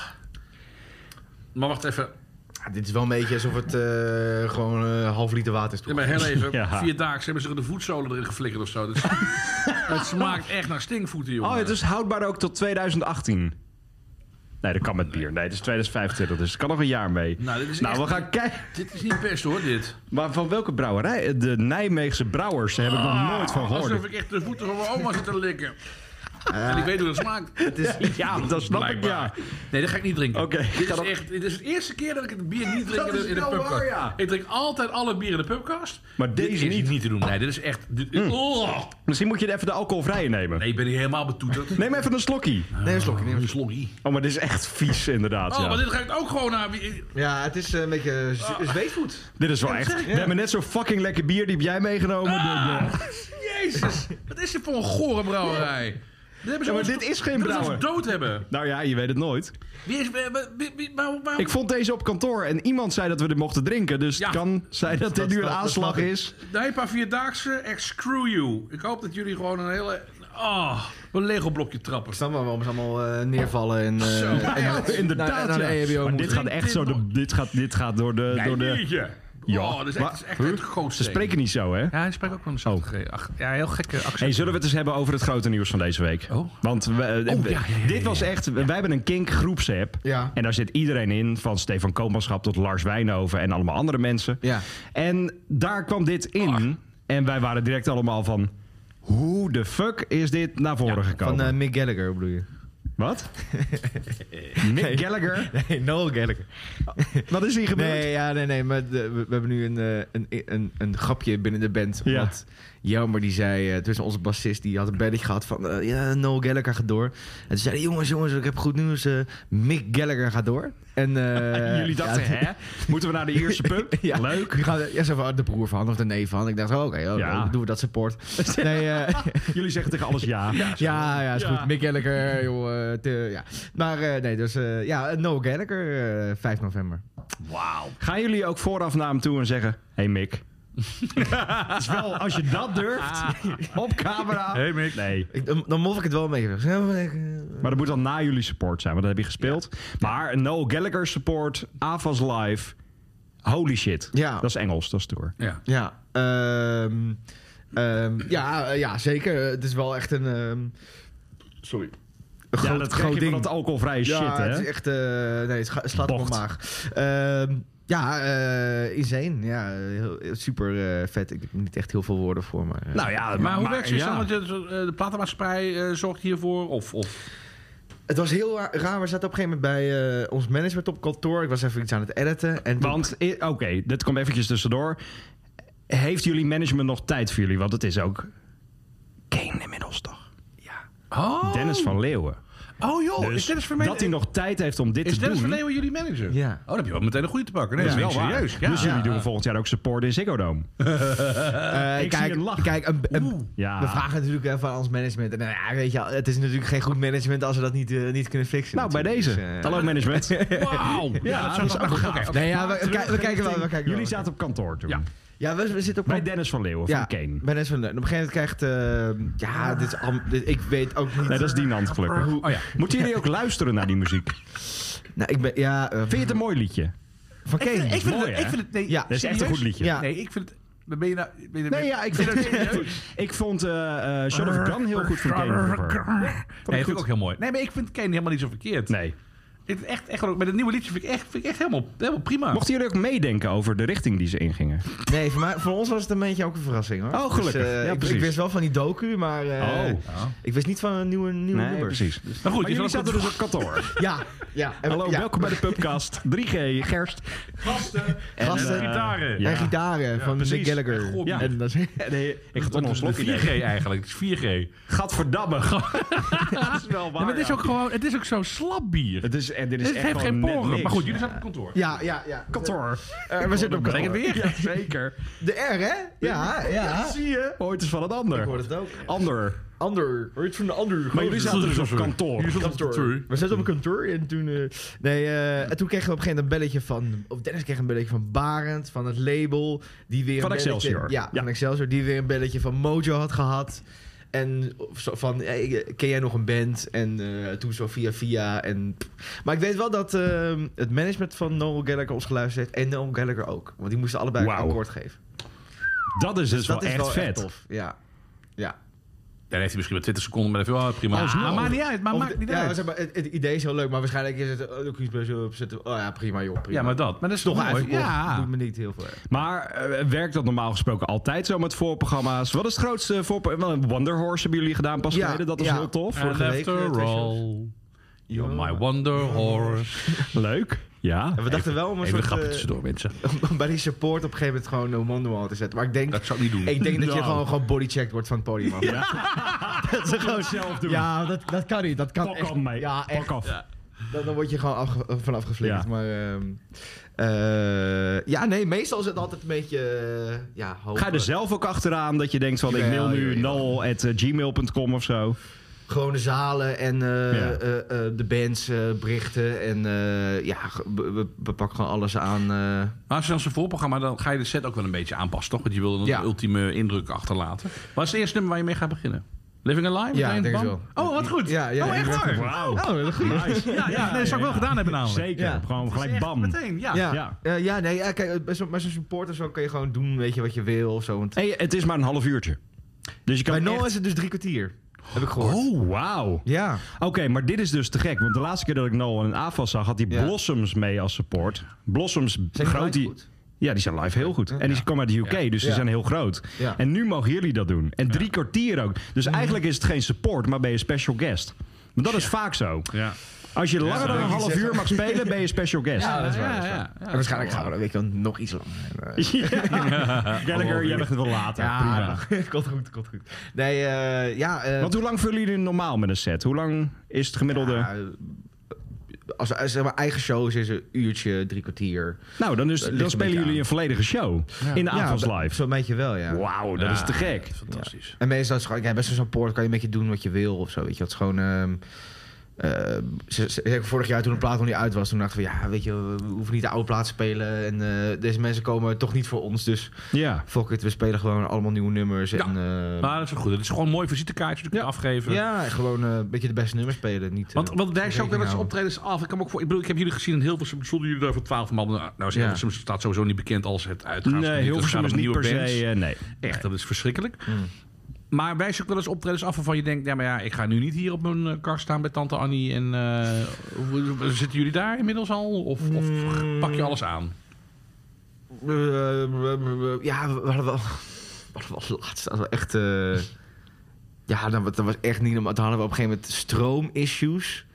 C: Maar wacht even.
E: Ja, Ah, dit is wel een beetje alsof het eh, gewoon eh, half liter water is.
C: Ja, maar heel even.
D: Ja.
C: Vier dagen hebben ze de voetzolen erin geflikkerd of zo. Dat is- het smaakt echt naar stinkvoeten, jongen.
D: Oh, het is houdbaar ook tot 2018. Nee, dat kan met bier. Nee, het is 2025, dus het kan nog een jaar mee.
C: Nou, dit is
D: we
C: echt-
D: gaan kijken.
C: Dit is niet best, hoor, dit.
D: Maar van welke brouwerij? De Nijmeegse Brouwers, daar heb ik nog nooit van gehoord.
C: Ah, Alsof ik echt de voeten van mijn oma zit te likken. en ik weet hoe dat smaakt.
D: Ja, Eh. dat snap
C: Blijkbaar.
D: ik, ja.
C: Nee, dat ga ik niet drinken.
D: Oké,
C: dit,
D: ga
C: is
D: dan-
C: echt, dit is de eerste keer dat ik het bier niet drink
D: Dat
C: in de,
D: is
C: in de
D: wel
C: pubcast.
D: waar, ja.
C: Ik drink altijd alle bier in de pubcast.
D: Maar
C: Dit
D: deze
C: is
D: niet. Mm.
C: te doen. Nee, dit is echt... Dit, oh.
D: Misschien moet je even de alcoholvrije nemen.
C: Nee, ik ben hier helemaal betoeterd.
D: Neem even een slokkie.
E: Nee, een slokje. neem een
C: Een
E: slokje.
C: slokkie.
D: Oh, maar dit is echt vies, inderdaad.
C: Oh,
D: ja.
C: maar dit ruikt ook gewoon naar... wie-
E: Ja, het is eh, een beetje z-
C: Ah.
E: zweetvoet.
D: Dit is wel echt. We hebben net zo'n fucking lekker bier die heb jij meegenomen.
C: Ah!
D: De- de-
C: Jezus, wat is dit voor een gore brouwerij? Dit hebben ze
D: Ja, maar
C: ons-
D: dit is geen
C: dit hebben ze ons
D: brouwer.
C: dood hebben.
D: Nou ja, je weet het nooit.
C: Wie is... Wie, wie, wie- waarom- waarom-
D: Ik vond deze op kantoor en iemand zei dat we dit mochten drinken. Dus
C: Ja.
D: het kan zijn dat dit
E: Dat-
D: nu een
E: dat- dat
D: aanslag
E: snap ik.
D: is.
C: Nijpa Vierdaagse, echt screw you. Ik hoop dat jullie gewoon een hele... Oh, een Lego-blokje trappen.
E: Ik snap wel waarom ze allemaal eh, neervallen en... eh,
C: Zo,
E: en-
C: echt.
E: en-
D: Inderdaad,
E: naar- naar de
D: ja.
E: EHBO
D: Maar
E: moeten.
D: dit gaat echt zo... de- dit, gaat, dit gaat door de...
C: Nee,
D: door de
C: biertje.
D: Ja.
C: Oh, dat is echt, dat is echt
D: Huh?
C: het grootste.
D: ze spreken Oh. niet zo, hè?
C: Ja, hij spreekt ook wel een soort... ge- ach, Ja, heel gekke accent.
D: Hey, zullen we het eens hebben over het grote nieuws van deze week?
C: Oh.
D: Want we, eh,
C: ja, ja, ja,
D: dit was echt... Wij hebben een kink groepsapp.
E: Ja.
D: En daar zit iedereen in. Van Stefan Koopmanschap tot Lars Wijnhoven en allemaal andere mensen.
E: Ja.
D: En daar kwam dit in. En wij waren direct allemaal van... Hoe de fuck is dit naar voren gekomen?
E: Van eh, Mick Gallagher bedoel je?
D: Wat? Mick Gallagher?
E: Nee, Noel Gallagher.
D: Wat is hier gebeurd?
E: Nee, ja, nee, nee. Maar de- we, we hebben nu een, eh, een, een, een grapje binnen de band.
D: Ja.
E: Omdat Jelmer die zei... eh, tussen onze bassist, die had een belletje gehad van... eh, ja, Noel Gallagher gaat door. En toen zei hij, jongens, jongens, ik heb goed nieuws. eh, Mick Gallagher gaat door. En, eh,
D: Jullie
E: ja,
D: dachten, hè? Moeten we naar de Ierse pub?
E: Ja,
D: Leuk.
E: die gaan, ja, zo van, de broer van of de neef van. Ik dacht, oh, oké, oh,
D: Ja.
E: leuk, doen we dat support. Nee, eh,
D: Jullie zeggen tegen alles ja.
E: ja, ja, is
D: Ja.
E: goed. Mick Gallagher, joh. eh, te- ja. Maar eh, nee, dus eh, ja, Noel Gallagher, eh, 5 november.
C: Wauw.
D: Gaan jullie ook vooraf naar hem toe en zeggen... Hey Mick. Ah. Het is wel, als je dat durft, op camera.
C: Hey, Mick.
D: Nee.
E: Ik, dan, dan mof ik het wel mee.
D: Maar dat moet dan na jullie support zijn, want dat heb je gespeeld. Maar Noel Gallagher support, Avas Live. Holy shit.
E: Ja.
D: Dat is Engels, dat is door.
C: Ja.
E: Ja, ehm, ehm, ja, eh, ja, zeker. Het is wel echt een... ehm,
C: Sorry.
E: een groot,
D: ja, dat
E: groot
D: groot
E: ding.
D: dat alcoholvrije
E: ja,
D: shit, hè?
E: het is echt... eh, nee, het scha- slaat op mijn
D: Bocht.
E: maag. Ehm, ja, eh insane. Ja, heel, heel super eh, vet. Ik heb niet echt heel veel woorden voor, maar... eh,
D: Nou ja,
C: Maar hoe werkt het
D: ja.
C: dan? Want je- eh, de platenmaatschappij eh, zorgt hiervoor? Of, of...
E: Het was heel ra- raar. We zaten op een gegeven moment bij eh, ons management op kantoor. Ik was even iets aan het editen. En toen-
D: Want, i- oké, dit komt eventjes tussendoor. Heeft jullie management nog tijd voor jullie? Want het is ook Kane inmiddels toch?
C: Oh,
D: Dennis van Leeuwen.
C: oh joh,
D: Dus
C: is Dennis van
D: dat hij nog tijd heeft om dit
C: Is
D: te
C: Dennis
D: doen...
C: van Leeuwen jullie manager?
E: Ja.
C: Oh, dan heb je wel meteen een goede te pakken. Nee,
D: dat is wel
C: meen ik
D: waar.
C: serieus. Ja.
D: Dus jullie
E: Ja.
D: doen volgend jaar ook support in Ziggo Dome.
E: Eh,
D: ik zie
E: kijk,
D: een lach.
E: kijk, een- een-
D: Ja.
E: we vragen natuurlijk even aan ons management. En nou ja, weet je, wel, het is natuurlijk geen goed management als we dat niet, eh, niet kunnen fixen.
D: Nou, bij
E: natuurlijk.
D: deze.
E: Dus, eh,
D: Hallo management.
C: Wauw.
D: Ja, dat
C: zou
D: is
C: toch-
D: ook
C: oké,
D: gaaf.
C: oké.
E: nee, ja, we, we kijk- we kijken wel. We kijken
D: Jullie
E: wel.
D: zaten op kantoor toen.
C: Ja.
E: Ja, we, we zitten op
D: Bij Dennis van Leeuwen,
E: ja,
D: van Kane. Ah.
E: bij Dennis van Leeuwen. Op een gegeven moment krijgt... eh, ja, dit is al- dit- ik weet ook niet...
D: Nee, dat is Dinant gelukkig.
C: Oh ja.
D: Moeten jullie ook luisteren naar die muziek? Vind
E: nou, ik ben, ja, eh,
D: je het een mooi liedje?
E: van Kane.
C: Ik vind,
D: Mooi,
C: het,
D: hè?
C: ik vind het... Nee,
E: Ja,
D: Dat is echt een
C: serieus?
D: goed liedje.
E: Ja.
C: Nee, ik vind het... Ben je nou... Ben je,
D: Nee, ja, ik vind Ik vond eh eh Shot of Gun heel goed voor Game Over.
C: Nee,
D: goed.
C: vind ik ook heel mooi. Nee, maar ik vind Kane helemaal niet zo verkeerd.
D: Nee.
C: Ik vind echt, echt, met het nieuwe liedje vind ik echt, vind ik echt helemaal, helemaal prima.
D: Mochten jullie ook meedenken over de richting die ze ingingen?
E: Nee, voor, mij, voor ons was het een beetje ook een verrassing hoor.
D: Oh, gelukkig.
E: eh,
D: Ja,
E: ik,
D: precies.
E: ik wist wel van die docu, maar eh, ik wist niet van een nieuwe, nieuwe
D: Nee,
E: nummers.
D: precies.
C: Maar Oh. goed,
D: Oh. Maar
C: je
D: jullie
C: zal
D: zaten
C: het
D: dus op kantoor.
E: Ja, ja. En,
D: Hallo,
E: ja.
D: welkom bij de Pubcast. 3G, Gerst.
E: En,
D: gasten.
E: eh,
C: gitaren.
D: Ja.
E: en gitaren van
D: precies.
E: Mick Gallagher.
C: En gom.
E: ja. en dat is-
D: Nee, ik ga toch nog een
C: Het is
D: slokje
C: 4G
D: nemen.
C: eigenlijk. Het is 4G.
D: Gadverdamme. dat is wel waar.
C: maar het is
D: ja.
C: ook gewoon, het is ook zo slap bier.
D: Het, is, en dit is
C: Het
D: echt
C: heeft geen
D: gewoon net
C: poren.
D: niks.
C: Maar goed, jullie zaten op kantoor.
E: ja, ja, ja.
D: Kantoor.
E: Eh, we zitten op
C: Zeg het
E: kantoor.
C: weer.
D: Zeker.
E: De R, hè? Ja, ja.
D: Zie je? Ooit is van een ander.
E: Ah. Ik hoor het ook.
D: Ander.
E: Ander. Hoor je het van de ander?
D: Maar jullie zaten dus op kantoor.
C: Jullie zaten op kantoor.
E: We zaten op een kantoor en toen... eh, nee, eh, en toen kregen we op een gegeven moment een belletje van... Of Dennis kreeg een belletje van Barend, van het label. Die weer
D: Van
E: een belletje-
D: Excelsior.
E: Ja,
D: Ja.
E: van Excelsior. Die weer een belletje van Mojo had gehad. En of zo van, hey, ken jij nog een band? En eh, toen zo via via. En, maar ik weet wel dat eh, het management van Noel Gallagher ons geluisterd heeft. En Noel Gallagher ook. Want die moesten allebei een
D: Wauw.
E: akkoord geven.
D: Dat is dus
E: dat
D: wel
E: is
D: echt
E: wel
D: vet.
E: echt tof. Ja. Ja.
C: Daar heeft hij misschien maar 20 seconden, maar dat viel wel prima. Nou,
D: Alsnog.
C: maar maakt niet uit. Maar
E: Of
C: maakt
E: de-
C: niet
E: ja,
C: uit.
E: zeg maar, het, het idee is heel leuk, maar waarschijnlijk is het... eh, Oh, kies bij zo op zitten. Oh ja, prima joh, prima.
C: Ja, maar dat. Maar dat is
E: Toch
C: mooi.
E: eigenlijk
C: Ja.
E: doet me niet heel veel. erg.
D: Maar eh, werkt dat normaal gesproken altijd zo met voorprogramma's? Wat is het grootste voorprogramma? Wel, een Wonder Horse hebben jullie gedaan pas
E: Ja,
D: geleden. Dat was
E: ja.
D: heel tof.
E: Ja. vorige
C: And
E: week, eh,
C: after
E: twee
C: all, you're my wonder horse.
D: Leuk. Ja.
E: En we dachten wel om een
C: Even een
E: soort,
C: grapje
E: eh,
C: tussendoor, mensen.
E: om bij die support op een gegeven moment gewoon no manual te zetten. Maar ik denk,
C: Dat zou ik niet doen.
E: ik denk dat je
D: Nou.
E: gewoon, gewoon bodychecked wordt van het podium. af. Ja,
D: Dat ze gewoon zelf doen.
E: dat, dat kan niet. Dat kan
D: Pak af, mate.
E: Ja, echt.
D: Pak af.
E: Dan, dan word je gewoon afge- eh, vanaf geflikkerd.
D: Ja.
E: Maar ehm, eh, ja, nee, meestal is het altijd een beetje eh, ja,
D: Ga je er
E: hopen.
D: zelf ook achteraan dat je denkt van ik mail
E: Jawel,
D: nu
E: jawel.
D: noel.gmail.com of zo?
E: Gewoon de zalen en eh,
D: Ja.
E: eh, eh, de bands eh, berichten. En eh, ja, ge- we, we- we pakken gewoon alles aan. eh.
C: Maar als je dan zijn voorprogramma, dan ga je de set ook wel een beetje aanpassen, toch? Want je wil een
E: Ja.
C: ultieme indruk achterlaten. Wat is het eerste nummer waar je mee gaat beginnen? Living Alive?
E: Ja,
C: Meteen,
E: ik denk het
C: bam? Oh, wat goed.
E: Ja, ja,
C: oh, echt
E: ik
C: waar?
D: Wauw.
E: Oh, goed.
D: Nice.
C: Ja, ja, nee, dat zou ik wel gedaan hebben namelijk.
D: Zeker.
E: Ja.
D: Gewoon gelijk
C: Echt,
D: bam.
C: Meteen, ja.
E: Ja,
D: Ja.
E: ja. ja nee, ja, kijk, eh, bij zo'n bij zo'n supporter zo kan je gewoon doen weet je, wat je wil of zo. Want
D: Hey, het is maar een half uurtje. Dus je kan
E: bij Noel
D: echt-
E: is het dus drie kwartier, heb ik gehoord.
D: Oh, wauw.
E: Ja.
D: Oké, maar dit is dus te gek. Want de laatste keer dat ik Noel en AFAS zag, had hij
E: Ja.
D: Blossoms mee als support. Blossoms,
E: Zijn die
D: groot
E: live
D: die...
E: goed?
D: Ja, die zijn live heel goed. En die komen uit de UK, dus die
E: Ja.
D: zijn heel groot.
E: Ja.
D: En nu mogen jullie dat doen. En drie kwartier ook. Dus eigenlijk is het geen support, maar ben je special guest. Want dat is vaak zo.
C: Ja.
D: Als je langer dan een
E: die
D: half
E: zeggen-
D: uur mag spelen, ben je special guest.
E: Ja, dat is waar. dat is
C: ja,
E: waar.
C: ja.
E: En waarschijnlijk gaan we dat week dan nog iets langer. En, eh,
D: Gallagher, jij bent het wel later. Prima.
E: dat komt goed, komt goed. Nee, eh, ja. eh,
D: Want hoe lang vullen jullie normaal met een set? Hoe lang is het gemiddelde?
E: ja, eh, als, als zeg maar, eigen shows is dus een uurtje, drie kwartier.
D: nou, dan, is,
E: ligt
D: dan
E: een
D: spelen
E: beetje
D: jullie
E: aan.
D: een volledige show in de avonds
E: Ja,
D: live.
E: Zo'n beetje wel, ja.
D: Wauw, dat is te gek.
C: Fantastisch.
E: En meestal is het gewoon, ja, best wel zo'n poort kan je een beetje doen wat je wil of zo. Weet je, dat is gewoon. ehm, eh, ze- ze- ik- vorig jaar toen een plaat nog niet uit was, toen dachten we, ja, weet je, we hoeven niet de oude plaat te spelen. En eh, deze mensen komen toch niet voor ons. Dus
D: Ja.
E: fuck it, we spelen gewoon allemaal nieuwe nummers. En, eh,
C: Maar dat is wel goed. Het is gewoon een mooi visitekaartje dat je kunt afgeven.
E: ja, en gewoon eh, een beetje de beste nummers spelen. Niet, eh,
C: Want, want daar is ook wel eens
E: rekening
C: optredens af. Ik, kan me ook voor, ik bedoel, ik heb jullie gezien in Hilversum. Stonden jullie daar voor 12 man? Nou, Nou, is
E: Ja.
C: Hilversum staat sowieso niet bekend als het uitgaan.
D: Nee, heel veel is niet per se. eh, nee.
C: Echt, dat is verschrikkelijk. Maar wij ook wel eens optredens af waarvan je denkt... ja, maar ja, ik ga nu niet hier op mijn eh, kar staan bij tante Annie. En eh, hoe- hoe- zitten jullie daar inmiddels al? Of, of pak je alles aan?
E: houden. Eh, ja, we we hadden wel. We hadden wel laatst. hadden we echt. eh, ja, dat, was- dat was echt niet normaal. Toen hadden we op een gegeven moment stroom-issues.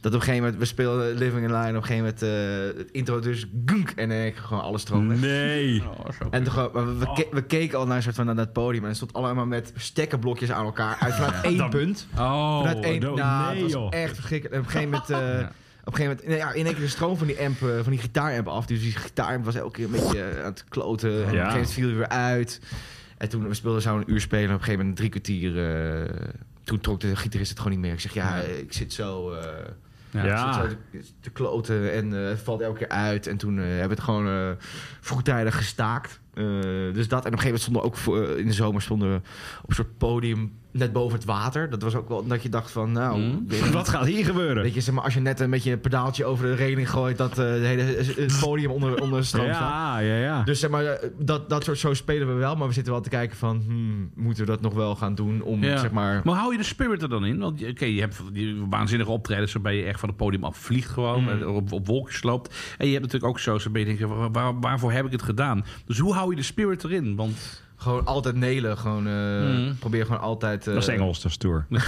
E: Dat op een gegeven moment, we speelden Living in Line, op een gegeven moment eh, het intro dus gunk en eh, gewoon alle stroom
D: Mm.
E: weg.
D: Nee.
E: En toen gewoon- maar we, we, ke- we keken al naar, een soort van, naar dat podium en het stond allemaal met stekkerblokjes aan elkaar uit vanuit één punt.
C: Oh,
E: Vanuit één,
D: do-
E: nou,
D: nee,
E: het was
D: joh.
E: echt verschrikkelijk. En op een gegeven moment... eh, Op een gegeven moment, nee, ja, in één keer de stroom van die amp, eh, van die gitaaramp af. Dus die gitaaramp was elke keer een beetje eh, aan het kloten. En op een gegeven moment viel hij weer uit. En toen we speelden zo'n uur spelen. En op een gegeven moment drie kwartier. eh, toen trok de gitarist het gewoon niet meer. Ik zeg, ja, ik zit zo, eh,
C: Ja.
E: ik zit
D: Ja.
E: zo te, te kloten. En eh, het valt elke keer uit. En toen eh, hebben we het gewoon eh, vroegtijdig eh, gestaakt. Eh, dus dat. En op een gegeven moment stonden we ook voor- in de zomer stonden we op een soort podium net boven het water. Dat was ook wel dat je dacht van, nou... ik weet niet.
D: Hmm. Wat gaat hier gebeuren?
E: Weet je, zeg maar, als je net een beetje een pedaaltje over de reling gooit, dat eh, de hele, het podium onder, onder de stroom staat.
D: Ja, ja, ja.
E: Dus zeg maar, eh, dat, dat soort shows spelen we wel, maar we zitten wel te kijken van, hmm, moeten we dat nog wel gaan doen om,
C: Ja.
E: zeg maar...
C: Maar hou je de spirit er dan in? Want oké, je hebt die waanzinnige optredens waarbij je echt van het podium af vliegt gewoon. en Op, op wolkjes loopt. En je hebt natuurlijk ook shows waarbij je denkt, waar- waar- waarvoor heb ik het gedaan? Dus hoe hou je de spirit erin? Want
E: Gewoon altijd nelen, gewoon eh,
C: Mm.
E: probeer gewoon altijd... eh,
D: Hmm. Dat is Engels, dat is tour.
C: ja,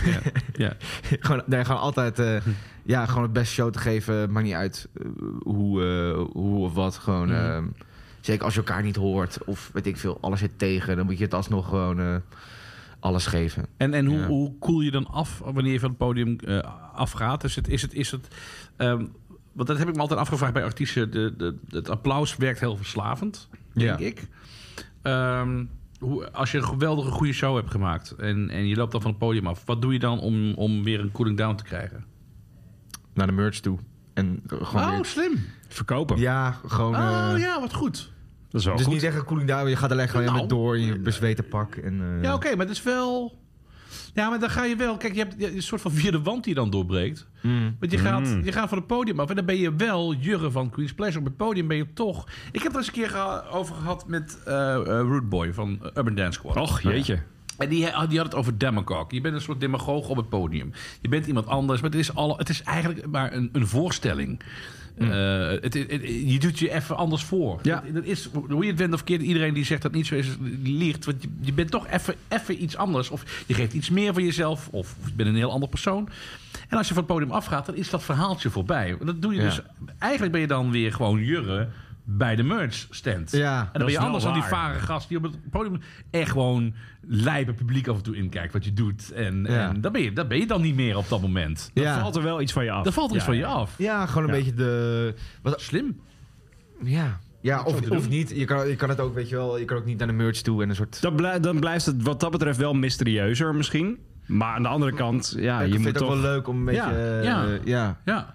C: ja.
E: gewoon, nee, gewoon altijd eh, ja, gewoon het beste show te geven. Maakt niet uit eh, hoe, eh, hoe of wat. Gewoon, eh, zeker als je elkaar niet hoort of weet ik veel, alles zit tegen. Dan moet je het alsnog gewoon eh, alles geven.
C: En, en hoe,
E: Ja.
C: hoe koel je dan af wanneer je van het podium eh, afgaat? Is het, is het, is het ehm, want dat heb ik me altijd afgevraagd bij artiesten. De, de, het applaus werkt heel verslavend, denk
E: Ja.
C: ik. Ehm, hoe, als je een geweldige goede show hebt gemaakt en, en je loopt dan van het podium af, wat doe je dan om, om weer een cooling down te krijgen?
E: Naar de merch toe. En eh, gewoon weer-
C: Oh, slim.
D: Verkopen.
E: Ja, gewoon... eh,
C: Oh ja, wat goed.
D: Dat is wel
E: Dus
D: goed.
E: niet echt een cooling down, je gaat er lekker gewoon
C: Nou.
E: helemaal door in je bezweten pak. En, eh,
C: Ja, oké, maar het is wel. Ja, maar dan ga je wel. Kijk, je hebt je hebt een soort van vierde wand die dan doorbreekt.
E: Mm.
C: Want je gaat, je gaat van het podium af. En dan ben je wel jurgen van Queen's Pleasure. Op het podium ben je toch. Ik heb er eens een keer geha- over gehad met eh eh, Rude Boy van eh, Urban Dance Squad.
D: Och, jeetje.
C: En die, ha- die had het over demagogue. Je bent een soort demagoog op het podium. Je bent iemand anders, maar het is, alle, het is eigenlijk maar een, een voorstelling. Eh, het, het- het- je doet je even anders voor.
D: Ja.
C: Dat, dat is, hoe je het bent of keert, iedereen die zegt dat niet zo is, die liegt. Want je, je bent toch even, even iets anders. Of je geeft iets meer van jezelf, of, of je bent een heel ander persoon. En als je van het podium afgaat, dan is dat verhaaltje voorbij. Dat doe je
E: Ja.
C: dus... Eigenlijk ben je dan weer gewoon jurre bij de merch stand. en
E: Ja.
C: dan
D: Dat
C: ben
D: is
C: je
D: wel
C: anders dan die
D: waar.
C: varen gast die op het podium echt gewoon lijpe publiek af en toe inkijkt wat je doet. En,
E: Ja.
C: en dat, ben je, dat ben je dan niet meer op dat moment.
D: Dan
E: ja.
D: valt er wel iets van je af.
C: Dat valt er iets
D: Ja,
C: van je
D: ja.
C: af.
E: ja, gewoon een
D: Ja.
E: beetje de... Wat,
C: Slim.
E: ja, ja
C: zo te
E: of,
C: doen.
E: of niet. Je kan, je kan het ook, weet je wel, je kan ook niet naar de merch toe en een soort...
D: Dan, blij- dan blijft het wat dat betreft wel mysterieuzer misschien. Maar aan de andere kant, ja,
E: ik
D: je
E: vind
D: moet
E: het ook
D: toch...
E: wel leuk om een beetje...
D: Ja,
E: eh,
C: ja.
E: ja.
C: Ja.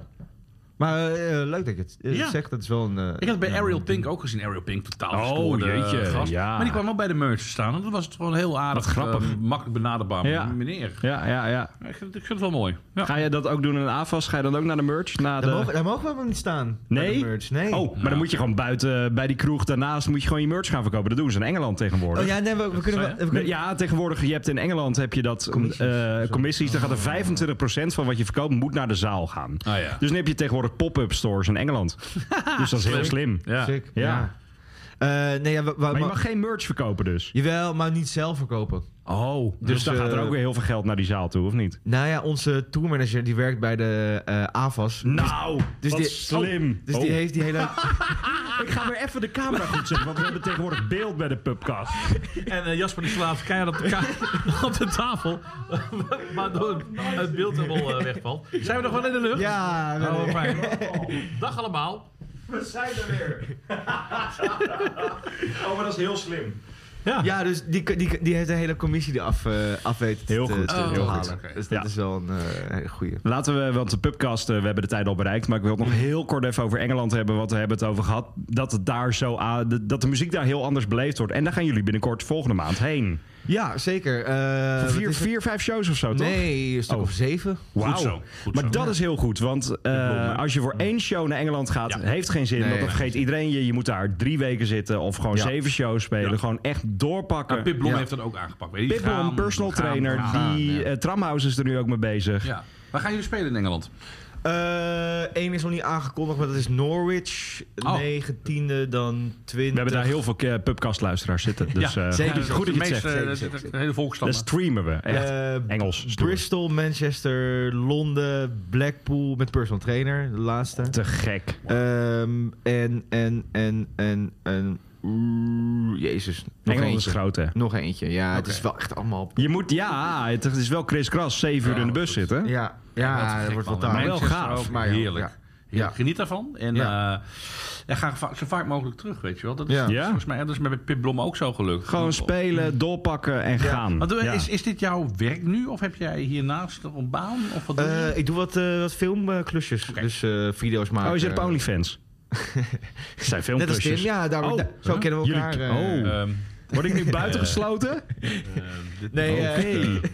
E: Maar eh, eh, leuk dat je het eh,
C: Ja.
E: zegt. Dat is wel een... eh,
C: Ik had het bij
E: ja,
C: Ariel Pink ook gezien. Ariel Pink, totaal
D: Oh,
C: gestoorde
D: jeetje,
C: gast.
D: ja.
C: Maar die kwam wel bij de merch te staan. En dat was het gewoon heel aardig,
D: Wat grappig.
C: eh, makkelijk benaderbaar
D: Ja.
C: meneer.
D: Ja, ja, ja.
C: Ik vind, ik vind het wel mooi. Ja.
D: Ga je dat ook doen in AFAS? Ga je dan ook naar de merch? Na
E: Daar,
D: de...
E: mogen, daar mogen we wel niet staan. bij
D: Nee?
E: de merch, nee.
D: Oh, maar dan moet je gewoon buiten bij die kroeg daarnaast moet je gewoon je merch gaan verkopen. Dat doen ze in Engeland tegenwoordig.
E: Oh ja, nee, we, we kunnen wel... we
D: Nee,
E: kunnen-
D: Ja, tegenwoordig, je hebt in Engeland heb je dat commissies. commissies dan gaat er 25% van wat je verkoopt moet naar de zaal gaan.
C: Ah, ja.
D: Dus dan heb je tegenwoordig pop-up stores in Engeland. dus dat is heel slim.
C: Ja.
E: Sick,
D: Ja.
E: ja. Eh, nee, ja, we- we-
D: Maar je
E: maar-
D: mag geen merch verkopen dus.
E: Jawel, maar niet zelf verkopen.
D: Oh, dus,
E: Dus,
D: dan gaat er
E: eh,
D: ook weer heel veel geld naar die zaal toe, of niet?
E: Nou ja, onze tourmanager die werkt bij de eh AVAS.
D: Nou,
E: Dus
D: wat
E: die-
D: slim.
E: Dus
D: Oh.
E: die heeft die hele...
D: Ik ga weer even de camera goed zetten, want we hebben tegenwoordig beeld bij de pubcast.
C: En eh, Jasper die slaat keihard op de, ka- op de tafel. maar door het beeld helemaal eh, wegvalt. Zijn we nog wel in de lucht?
E: ja,
C: Oh,
E: wel-
C: wat fijn. Dag allemaal.
D: We zijn er weer. oh, maar dat is heel slim.
E: ja dus die, die, die heeft de hele commissie eraf eh af weten
D: Heel
E: te,
D: goed, Oh.
E: te,
C: heel
E: te
C: goed.
E: halen.
C: Oké.
E: Dus dat
D: Ja.
E: is wel een eh, hele goeie.
D: Laten we, want de pubcast, eh, we hebben de tijd al bereikt, maar ik wil het nog heel kort even over Engeland hebben, want we hebben het over gehad dat, het daar zo aan- de- dat de muziek daar heel anders beleefd wordt. En daar gaan jullie binnenkort volgende maand heen.
E: Ja, zeker. eh,
D: Voor
E: wat
D: vier,
E: is het?
D: vier, vijf shows of zo, toch?
E: Nee, een stuk
D: Oh.
E: of zeven.
D: Wauw.
C: Goed zo, goed
D: maar
C: zo.
D: dat is heel goed, want eh, als je voor één show naar Engeland gaat,
C: Ja.
D: heeft geen zin.
E: Nee,
D: want dan
E: nee.
D: vergeet iedereen je. Je moet daar drie weken zitten of gewoon
E: Ja.
D: zeven shows spelen.
C: Ja.
D: Gewoon echt doorpakken.
C: Maar Pip Blom
E: Ja.
C: heeft dat ook aangepakt. Weet je,
D: Pip Blom,
C: gaan,
D: personal
C: gaan,
D: trainer,
C: gaan,
D: die
C: ja.
D: eh, Tramhouse is er nu ook mee bezig.
C: Ja. Waar gaan jullie spelen in Engeland?
E: Eén Eh, is nog niet aangekondigd, maar dat is Norwich.
C: Oh.
E: 19e, dan 20.
D: We hebben daar heel veel eh, pubcastluisteraars zitten. Dus
C: ja,
D: eh,
E: zeker.
D: goed, goed dat je het zegt.
C: meeste,
E: zeker,
C: eh,
E: zeker,
C: de- de hele
D: Dat
C: volksstand.
D: streamen we. Echt.
E: Eh,
D: Engels. stoer.
E: Bristol, Manchester, Londen, Blackpool met personal trainer, de laatste.
D: Te gek.
E: Ehm, en, en, en, en, en. Oeh, jezus. Nog
D: Engeland is
E: eentje.
D: groot, hè?
E: Nog eentje, ja. Het is
C: Oké.
E: wel echt allemaal.
D: Je moet, ja, het is wel Chris Kras, zeven uur in de bus zitten.
E: Ja,
C: Wat een
E: ja, dat
C: gek,
E: wordt wel
C: man.
E: taai.
D: Maar wel
C: Manchester
D: gaaf.
C: ook,
E: Maar ja,
C: Oh, heerlijk.
E: ja.
C: Heerlijk.
E: Ja.
C: Geniet daarvan. En
E: Ja.
C: eh, ja, ga va- zo vaak mogelijk terug, weet je wel. Dat is,
E: Ja.
C: dat is
D: Ja.
C: volgens mij dat is met Pip Blom ook zo gelukt.
D: Gewoon spelen, doorpakken en gaan.
C: Want, eh,
D: Ja.
C: is, is dit jouw werk nu? Of heb jij hiernaast nog een baan? Of wat doe je?
E: Eh, ik doe wat, eh, wat filmklusjes.
C: Oké.
E: Dus eh, video's maken.
D: Oh, je zit op OnlyFans. Het zijn
E: Net als
D: filmpjes.
E: Tim, ja. Daar,
D: Oh,
E: daar- zo
D: huh?
E: kennen we elkaar.
D: Jullie-
E: eh.
D: oh.
C: Ehm,
D: Word ik nu buitengesloten?
E: Nee,
D: Oh, Oké.
E: eh,
D: Jeetje.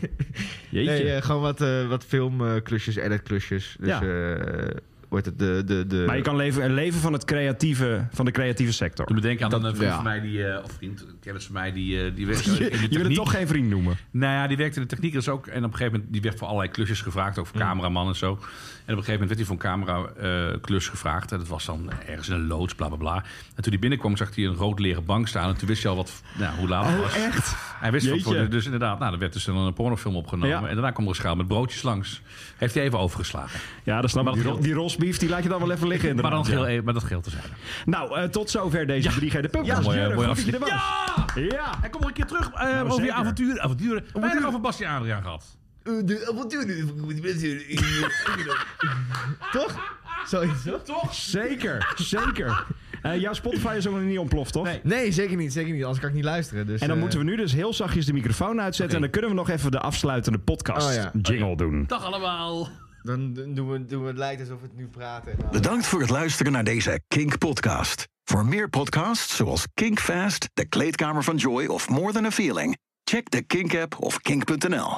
E: nee eh, gewoon wat, eh, wat filmklusjes, editklusjes. Dus
D: Ja.
E: eh, wordt het de... de, de
D: maar je kan leven, eh, leven van, het creatieve, van de creatieve sector.
C: Toen bedenk aan een eh, vriend
E: Ja.
C: van mij, die, eh, of vriend, een kennis van mij, die, eh, die werkt in de
D: Je, je wil het
C: techniek.
D: toch geen vriend noemen.
C: Nou ja, die werkte in de techniek dus ook. En op een gegeven moment die werd voor allerlei klusjes gevraagd. Ook voor cameraman en zo. En op een gegeven moment werd hij voor een camera-klus gevraagd. En dat was dan ergens in een loods, bla bla bla. En toen hij binnenkwam, zag hij een rood leren bank staan. En toen wist hij al wat, nou, hoe laat het was.
D: echt?
C: Hij wist van,
D: Jeetje.
C: voor de- dus inderdaad, nou, er werd dus dan een pornofilm opgenomen.
D: Ja.
C: En daarna kwam er een schaal met broodjes langs. Heeft hij even overgeslagen.
D: Ja, dat snap ik. Die, ro- die rosbief, die laat je dan wel even liggen
C: Maar, dan
D: inderdaad.
C: geel,
D: Ja.
C: eh, maar dat geel te zijn.
D: Nou, eh, tot zover deze 3G de Pub.
C: Ja, mooie-
D: Jurk,
C: mooie
D: goed dat je er was.
C: afsluiting.
D: Ja.
C: En kom nog een keer terug eh, over je
D: zeker.
C: avonturen. avonturen. Weinig over Bastiaan Adriaan gehad.
E: Toch? Zoiets, toch?
D: Zeker, zeker. Eh, jouw Spotify is ook nog niet ontploft, toch?
E: Nee, zeker niet, zeker niet. Anders kan ik niet luisteren. Dus,
D: En dan
E: eh,
D: moeten we nu dus heel zachtjes de microfoon uitzetten. En dan kunnen we nog even de afsluitende podcast
E: Oh ja.
D: jingle doen.
C: Dag allemaal.
E: Dan doen we, doen we het lijkt alsof we het nu praten. en dan-
A: Bedankt voor het luisteren naar deze Kink Podcast. Voor meer podcasts zoals Kink Fast, De Kleedkamer van Joy of More Than a Feeling, check de Kink app of kink.nl.